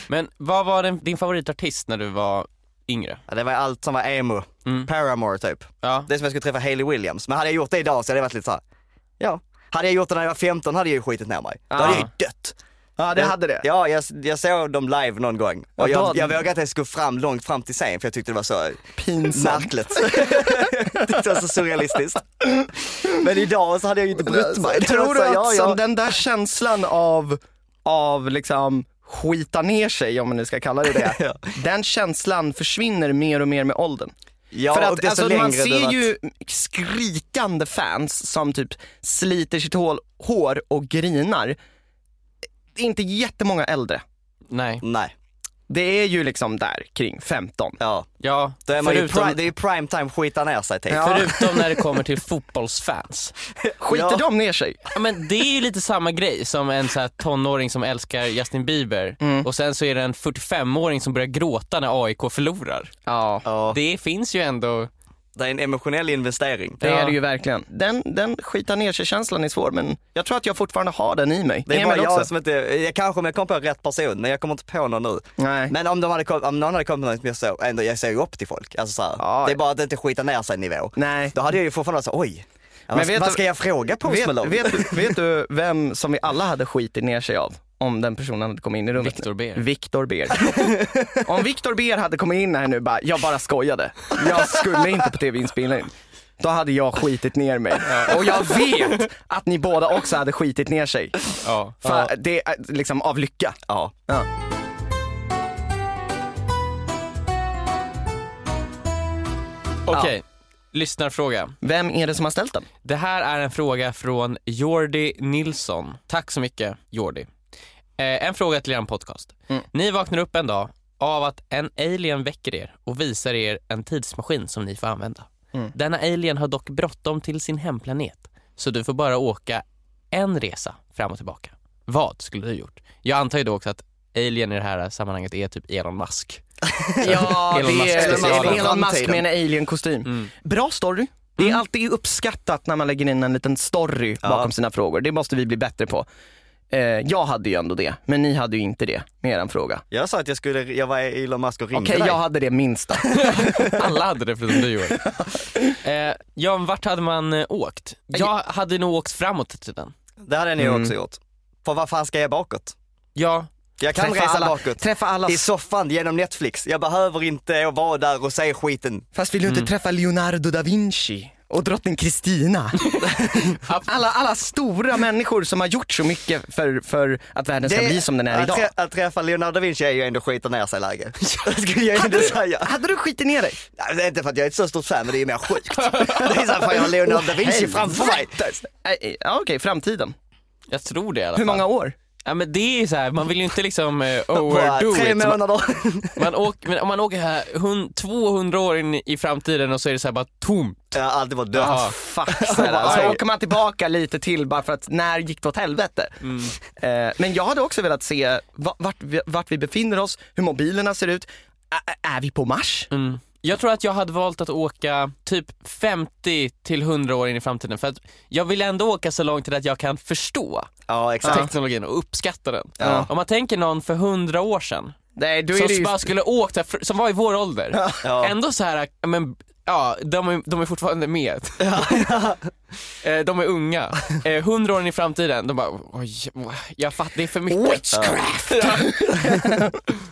Speaker 1: men vad var din, din favoritartist när du var yngre.
Speaker 3: Ja, det var allt som var emo.
Speaker 1: Mm.
Speaker 3: Paramore typ.
Speaker 1: Ja.
Speaker 3: Det är som jag skulle träffa Hailey Williams. Men hade jag gjort det idag så hade det varit lite såhär, ja. Hade jag gjort det när jag var 15 hade jag ju skitit ner mig. Då hade jag ju dött.
Speaker 2: Ah. Eh, Ja det hade det.
Speaker 3: Ja, jag, jag såg dem live någon gång.
Speaker 2: Ja,
Speaker 3: Och jag,
Speaker 2: då-
Speaker 3: jag vågade inte ens gå fram långt fram till scen för jag tyckte det var så
Speaker 2: Pinsamt.
Speaker 3: märkligt. det var så surrealistiskt. Men idag så hade jag ju inte brytt mig. Det var
Speaker 2: Tror
Speaker 3: så,
Speaker 2: du att
Speaker 3: ja,
Speaker 2: sen
Speaker 3: ja.
Speaker 2: den där känslan av, av liksom skita ner sig, om man nu ska kalla det det, den känslan försvinner mer och mer med åldern?
Speaker 3: Ja,
Speaker 2: För
Speaker 3: och
Speaker 2: att
Speaker 3: desto
Speaker 2: alltså,
Speaker 3: längre
Speaker 2: man
Speaker 3: det
Speaker 2: ser
Speaker 3: varit-
Speaker 2: ju skrikande fans som typ sliter sitt hål, hår och grinar. Det är inte jättemånga äldre.
Speaker 1: Nej.
Speaker 3: Nej,
Speaker 2: Det är ju liksom där kring 15.
Speaker 3: ja.
Speaker 1: Ja,
Speaker 3: Då är man
Speaker 1: förutom,
Speaker 3: ju pri- det är ju prime time skita ner sig typ.
Speaker 1: förutom när det kommer till fotbollsfans.
Speaker 2: Skiter
Speaker 3: Ja.
Speaker 2: de ner sig?
Speaker 1: Ja, men det är ju lite samma grej som en så här tonåring som älskar Justin Bieber
Speaker 3: Mm.
Speaker 1: och sen så är det en 45-åring som börjar gråta när AIK förlorar.
Speaker 2: Ja,
Speaker 3: Ja,
Speaker 1: Det finns ju ändå...
Speaker 3: det är en emotionell investering.
Speaker 2: det
Speaker 1: Ja.
Speaker 2: är det ju verkligen. Den, den skita ner sig-känslan är svår, men jag tror att jag fortfarande har den i mig.
Speaker 3: Det är bara
Speaker 2: Emil
Speaker 3: jag
Speaker 2: också.
Speaker 3: som inte, jag kanske om jag kom på rätt person, men jag kommer inte på någon nu.
Speaker 2: Nej.
Speaker 3: Men om, de hade kom, om någon hade kommit med något mer så, ändå, jag ser ju upp till folk. Alltså, så här,
Speaker 2: Ja.
Speaker 3: Det är bara att inte skita ner sig nivå.
Speaker 2: Nej.
Speaker 3: Då hade jag ju fortfarande så, oj, men vad,
Speaker 2: vet
Speaker 3: vad
Speaker 2: du-
Speaker 3: ska jag fråga på
Speaker 2: Vet,
Speaker 3: Malone?
Speaker 2: vet, du- vet du vem som vi alla hade skitit ner sig av? Om den personen hade kommit in i rummet.
Speaker 1: Victor
Speaker 2: nu?
Speaker 1: Beer.
Speaker 2: Victor Beer. om Victor Beer hade kommit in här nu bara, jag bara skojade. Jag skulle inte på tv-inspelning. Då hade jag skitit ner mig. Och jag vet att ni båda också hade skitit ner sig.
Speaker 1: Ja.
Speaker 2: För det är liksom av lycka.
Speaker 3: Ja.
Speaker 2: Ja.
Speaker 1: Okej, lyssnarfråga.
Speaker 2: Vem är det som har ställt den?
Speaker 1: Det här är en fråga från Jordi Nilsson. Tack så mycket Jordi. Eh, en fråga till er podcast. Ni vaknar upp en dag av att en alien väcker er och visar er en tidsmaskin som ni får använda. Denna alien har dock bråttom till sin hemplanet så du får bara åka en resa fram och tillbaka. Vad skulle du gjort? Jag antar ju då också att alien i det här sammanhanget är typ Elon Musk.
Speaker 2: Ja,
Speaker 1: Elon Musk
Speaker 2: det är
Speaker 1: specialen.
Speaker 2: Elon, Mm. Elon Musk med en alien-kostym. Bra story. Det är alltid uppskattat när man lägger in en liten story bakom sina frågor. Det måste vi bli bättre på. Eh, jag hade ju ändå det, men ni hade ju inte det med er fråga.
Speaker 3: Jag sa att jag skulle, jag var Elon Musk och ringde
Speaker 2: Okej,
Speaker 3: dig.
Speaker 2: jag hade det minsta.
Speaker 1: Alla hade det förutom du Joel. Eh, ja, men vart hade man eh, åkt? Jag hade nog åkt framåt i tiden.
Speaker 3: Det hade ni
Speaker 2: Mm.
Speaker 3: ju också gjort. För vad fan ska jag bakåt?
Speaker 1: Ja,
Speaker 3: Jag kan
Speaker 2: Träffa
Speaker 3: resa
Speaker 2: alla-
Speaker 3: bakåt.
Speaker 2: Träffa alla...
Speaker 3: I soffan genom Netflix. Jag behöver inte vara där och se skiten.
Speaker 2: Fast vill du inte träffa Leonardo da Vinci och drottning Kristina? alla, alla stora människor som har gjort så mycket för, för att världen ska
Speaker 3: Det-
Speaker 2: bli som den är
Speaker 3: att
Speaker 2: idag.
Speaker 3: trä- Att träffa Leonardo da Vinci är ju ändå skita ner sig läge. skulle jag inte säga.
Speaker 2: Hade du skitit ner dig?
Speaker 3: Nej, det är inte för att jag är ett så stort fan, men det är ju mer sjukt. Det är så här, fan jag har Leonardo da Vinci framför mig.
Speaker 2: Nej, eh, Ja, Okej, framtiden.
Speaker 1: jag tror det i alla
Speaker 2: Hur
Speaker 1: fall.
Speaker 2: många år?
Speaker 1: Ja, men det är ju så här, man vill ju inte liksom eh,
Speaker 3: Bara
Speaker 1: overdo
Speaker 3: tre
Speaker 1: it. Man,
Speaker 3: månader.
Speaker 1: man åker, men om man åker här hun- 200 år in i framtiden och så är det så här bara tomt.
Speaker 3: Jag har alltid varit död.
Speaker 1: Ja.
Speaker 2: Fuck sådär. Så alltså, åker man tillbaka lite till bara för att när gick det åt helvete?
Speaker 1: Mm.
Speaker 2: Eh, men jag hade också velat se va- vart, vi- vart vi befinner oss, hur mobilerna ser ut. Ä- ä- är vi på Mars?
Speaker 1: Mm. Jag tror att jag hade valt att åka typ 50 till 100 år in i framtiden för att jag vill ändå åka så långt till att jag kan förstå
Speaker 3: Ja, exakt.
Speaker 1: teknologin och uppskatta den.
Speaker 2: Ja.
Speaker 1: Om man tänker någon för 100 år sedan
Speaker 2: Nej, då
Speaker 1: som
Speaker 2: är det ju...
Speaker 1: bara skulle åkt, där fr- som var i vår ålder.
Speaker 3: Ja.
Speaker 1: Ändå så här, men ja, de är, de är fortfarande med. Eh, de är unga. Eh, Hundra år in i framtiden, de bara, oj, jag fattar, det är för mycket.
Speaker 2: Witchcraft!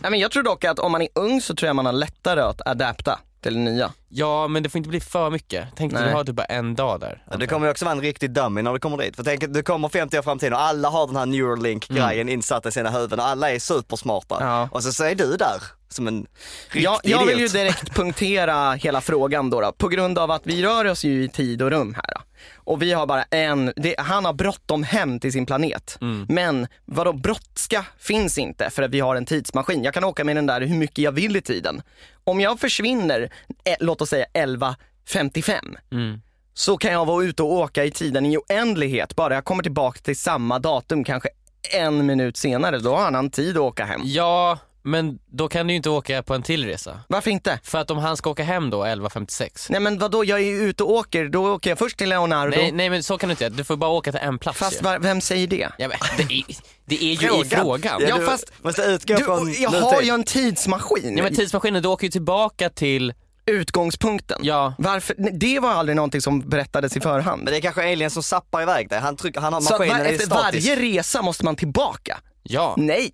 Speaker 2: Nej, men jag tror dock att om man är ung så tror jag man har lättare att adapta till det nya.
Speaker 1: Ja, men det får inte bli för mycket. Tänk dig,
Speaker 2: Nej.
Speaker 1: du har typ bara en dag där.
Speaker 3: Ja, Du kommer ju också vara en riktig dummy när du kommer dit. För tänk, du kommer 50 år fram till och alla har den här neuralink-grejen insatt i sina huvuden och alla är supersmarta.
Speaker 2: Mm. Ja.
Speaker 3: Och så, så är du där som en riktig
Speaker 2: Jag, jag vill ju
Speaker 3: idiot.
Speaker 2: direkt punktera hela frågan då, då, på grund av att vi rör oss ju i tid och rum här. då. Och vi har bara en, det, han har bråttom hem till sin planet.
Speaker 3: Mm.
Speaker 2: Men vadå brottska finns inte för att vi har en tidsmaskin. Jag kan åka med den där hur mycket jag vill i tiden. Om jag försvinner, eh, låt oss säga 11.55, så kan jag vara ute och åka i tiden i oändlighet bara jag kommer tillbaka till samma datum kanske en minut senare. Då har han tid att åka hem.
Speaker 1: Ja, Men då kan du ju inte åka på en till resa.
Speaker 2: Varför inte?
Speaker 1: För att om han ska åka hem då 11.56.
Speaker 2: Nej men vadå, jag är ju ute och åker, då åker jag först till Leonardo.
Speaker 1: Nej, nej men så kan du inte göra. Du får bara åka till en plats
Speaker 2: Fast
Speaker 1: ju.
Speaker 2: var, vem säger det?
Speaker 1: Ja, men, det, är, det är ju i frågan.
Speaker 3: Ja,
Speaker 2: Ja,
Speaker 3: du
Speaker 2: fast-
Speaker 3: måste utgå från
Speaker 2: Du, jag
Speaker 3: nutid.
Speaker 2: har ju en tidsmaskin.
Speaker 1: Ja, men tidsmaskinen, du åker ju tillbaka till,
Speaker 2: Utgångspunkten.
Speaker 1: ja,
Speaker 2: Varför? nej, Det var aldrig någonting som berättades i förhand.
Speaker 3: Men det är kanske alien som zappar iväg dig. Han, trycker, han har
Speaker 2: Så att
Speaker 3: maskinen
Speaker 2: var,
Speaker 3: i
Speaker 2: efter
Speaker 3: statisk.
Speaker 2: varje resa måste man tillbaka.
Speaker 1: ja.
Speaker 2: Nej!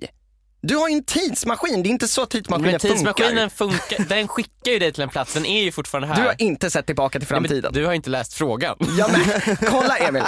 Speaker 2: Du har ju en tidsmaskin, det är inte så tidsmaskinen
Speaker 1: Men tidsmaskinen
Speaker 2: funkar.
Speaker 1: funkar, den skickar ju dig till en plats, den är ju fortfarande här.
Speaker 2: Du har inte sett tillbaka till
Speaker 1: Nej, men
Speaker 2: framtiden.
Speaker 1: Du har inte läst frågan.
Speaker 2: Ja men kolla Emil,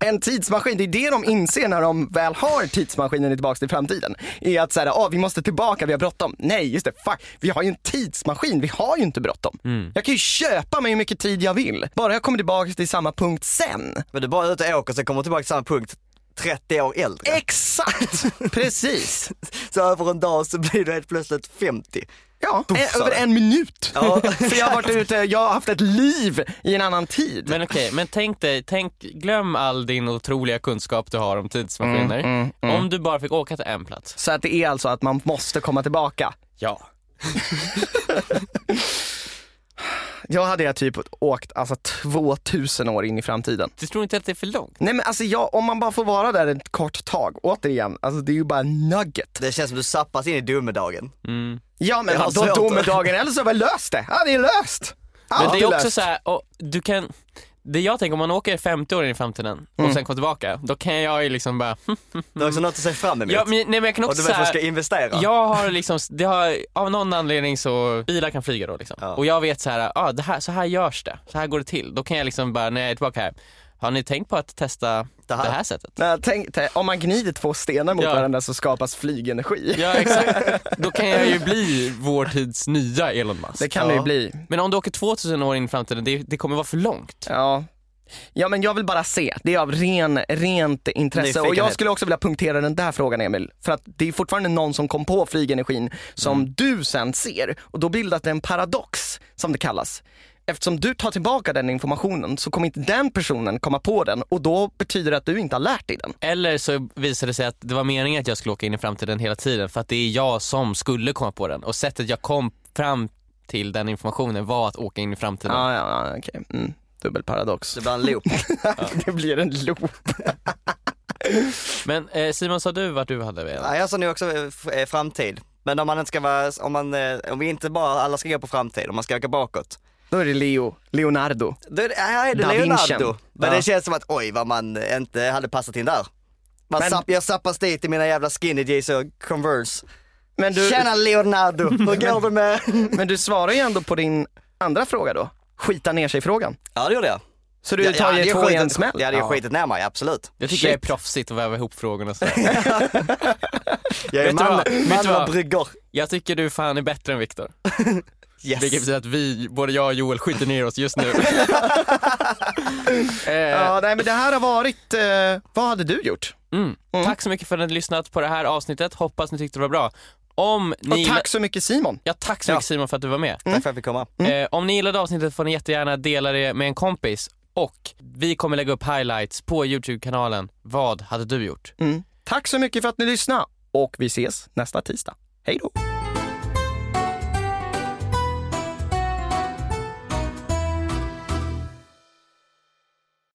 Speaker 2: en tidsmaskin, det är det de inser när de väl har tidsmaskinen i tillbaka till framtiden. Är att såhär, ah, vi måste tillbaka, vi har bråttom. Nej just det, fuck, vi har ju en tidsmaskin, vi har ju inte bråttom.
Speaker 3: Mm.
Speaker 2: Jag kan ju köpa mig hur mycket tid jag vill, bara jag kommer tillbaka till samma punkt sen.
Speaker 3: Men du bara är ute och åker, sen kommer du tillbaka till samma punkt 30 år äldre.
Speaker 2: Eh. Exakt, precis.
Speaker 3: Så över en dag så blir du helt plötsligt 50.
Speaker 2: Ja,
Speaker 3: Då
Speaker 2: en,
Speaker 3: så.
Speaker 2: över en minut.
Speaker 3: Ja.
Speaker 2: För jag har varit ute, jag har haft ett liv i en annan tid.
Speaker 1: Men okej, men tänk dig, tänk, glöm all din otroliga kunskap du har om tidsmaskiner. Om du bara fick åka till en plats.
Speaker 2: Så att det är alltså att man måste komma tillbaka.
Speaker 1: Ja.
Speaker 2: Jag hade jag typ åkt alltså 2000 år in i framtiden.
Speaker 1: Du tror inte att det är för långt?
Speaker 2: Nej men alltså jag, om man bara får vara där ett kort tag, återigen, alltså det är ju bara nugget.
Speaker 3: Det känns som du zappas in i domedagen.
Speaker 2: Ja men
Speaker 3: Jag har
Speaker 2: vadå
Speaker 3: svårt.
Speaker 2: domedagen, eller så har vi löst det. Ja det är löst. Allt
Speaker 1: Men det är också
Speaker 2: löst.
Speaker 1: så här, och du kan, det jag tänker om man åker 50 år in i framtiden och sen kommer tillbaka, då kan jag ju liksom bara, hm.
Speaker 3: Du har också något att se fram emot.
Speaker 1: ja, men, nej men jag kan
Speaker 3: och
Speaker 1: också
Speaker 3: du vet
Speaker 1: så
Speaker 3: vad du ska
Speaker 1: här,
Speaker 3: investera.
Speaker 1: jag har liksom, det har, av någon anledning så, bilar kan flyga då liksom.
Speaker 3: Ja.
Speaker 1: Och jag vet så här, ah, det här, så här görs det, så här går det till. Då kan jag liksom bara, när jag är tillbaka här, har ni tänkt på att testa det
Speaker 3: Det
Speaker 1: här,
Speaker 3: här?
Speaker 1: sättet?
Speaker 2: Nej, tänk, tänk, om man gnider två stenar mot
Speaker 1: Ja.
Speaker 2: varandra så skapas flygenergi.
Speaker 1: Ja exakt, då kan jag ju bli vår tids nya Elon Musk.
Speaker 2: Det kan det ju
Speaker 3: Ja.
Speaker 2: bli.
Speaker 1: Men om du åker 2000 år in i framtiden, det, det kommer vara för långt.
Speaker 2: Ja. ja men jag vill bara se, det är av ren, rent intresse. Och jag
Speaker 3: Nyfikenhet.
Speaker 2: skulle också vilja punktera den där frågan Emil. För att det är fortfarande någon som kom på flygenergin som
Speaker 3: Mm.
Speaker 2: du sen ser. Och då bildas det en paradox som det kallas. Eftersom du tar tillbaka den informationen så kommer inte den personen komma på den och då betyder det att du inte har lärt dig den.
Speaker 1: Eller så visade det sig att det var meningen att jag skulle åka in i framtiden hela tiden för att det är jag som skulle komma på den och sättet jag kom fram till den informationen var att åka in i framtiden.
Speaker 2: Ja, Ah, ja, ja okej. Mm. Dubbelparadox.
Speaker 3: Det blir en loop.
Speaker 2: det blir en loop.
Speaker 1: Men eh, Simon, sa du vart du hade velat?
Speaker 3: Ja, jag sa nu också eh, f- eh, framtid. Men om man inte ska vara, om man, eh, om vi inte bara alla ska gå på framtid, om man ska åka bakåt.
Speaker 2: Då är det Leo, Leonardo.
Speaker 3: Då är det, här är det
Speaker 2: Da Vinci.
Speaker 3: Leonardo. Men
Speaker 2: Ja.
Speaker 3: det känns som att oj vad man eh, inte hade passat in där. Man
Speaker 2: Men-
Speaker 3: zapp, jag zappas dit i mina jävla skinny jeans och converse.
Speaker 2: Men du,
Speaker 3: Tjena Leonardo, hur går det med?
Speaker 2: men du svarar ju ändå på din andra fråga då. Skita ner sig-frågan.
Speaker 3: Ja det gjorde jag.
Speaker 2: Så du tar ju två i en smäll?
Speaker 3: Jag hade ju skitit ner mig, absolut.
Speaker 1: Jag tycker
Speaker 2: Shit.
Speaker 1: jag är proffsigt att väva ihop frågorna så.
Speaker 3: Jag är
Speaker 1: Vet du
Speaker 3: man,
Speaker 1: vad? Vet du
Speaker 3: man
Speaker 1: vad?
Speaker 3: och bryggor.
Speaker 1: Jag tycker du fan är bättre än Viktor.
Speaker 3: Yes.
Speaker 1: Vilket betyder att vi, både jag och Joel, skiter ner oss just nu. Mm. eh,
Speaker 2: Ja, nej men det här har varit, eh, vad hade du gjort?
Speaker 1: Mm. Tack så mycket för att ni hade lyssnat på det här avsnittet. Hoppas ni tyckte det var bra. Om ni
Speaker 2: Och tack så mycket Simon.
Speaker 1: Ja, tack så mycket Simon för att du var med.
Speaker 3: Tack för att jag fick komma.
Speaker 2: Mm.
Speaker 1: Eh, om ni gillade avsnittet får ni jättegärna dela det med en kompis och vi kommer lägga upp highlights på Youtube-kanalen Vad hade du gjort?
Speaker 2: Tack så mycket för att ni lyssnade och vi ses nästa tisdag. Hej då!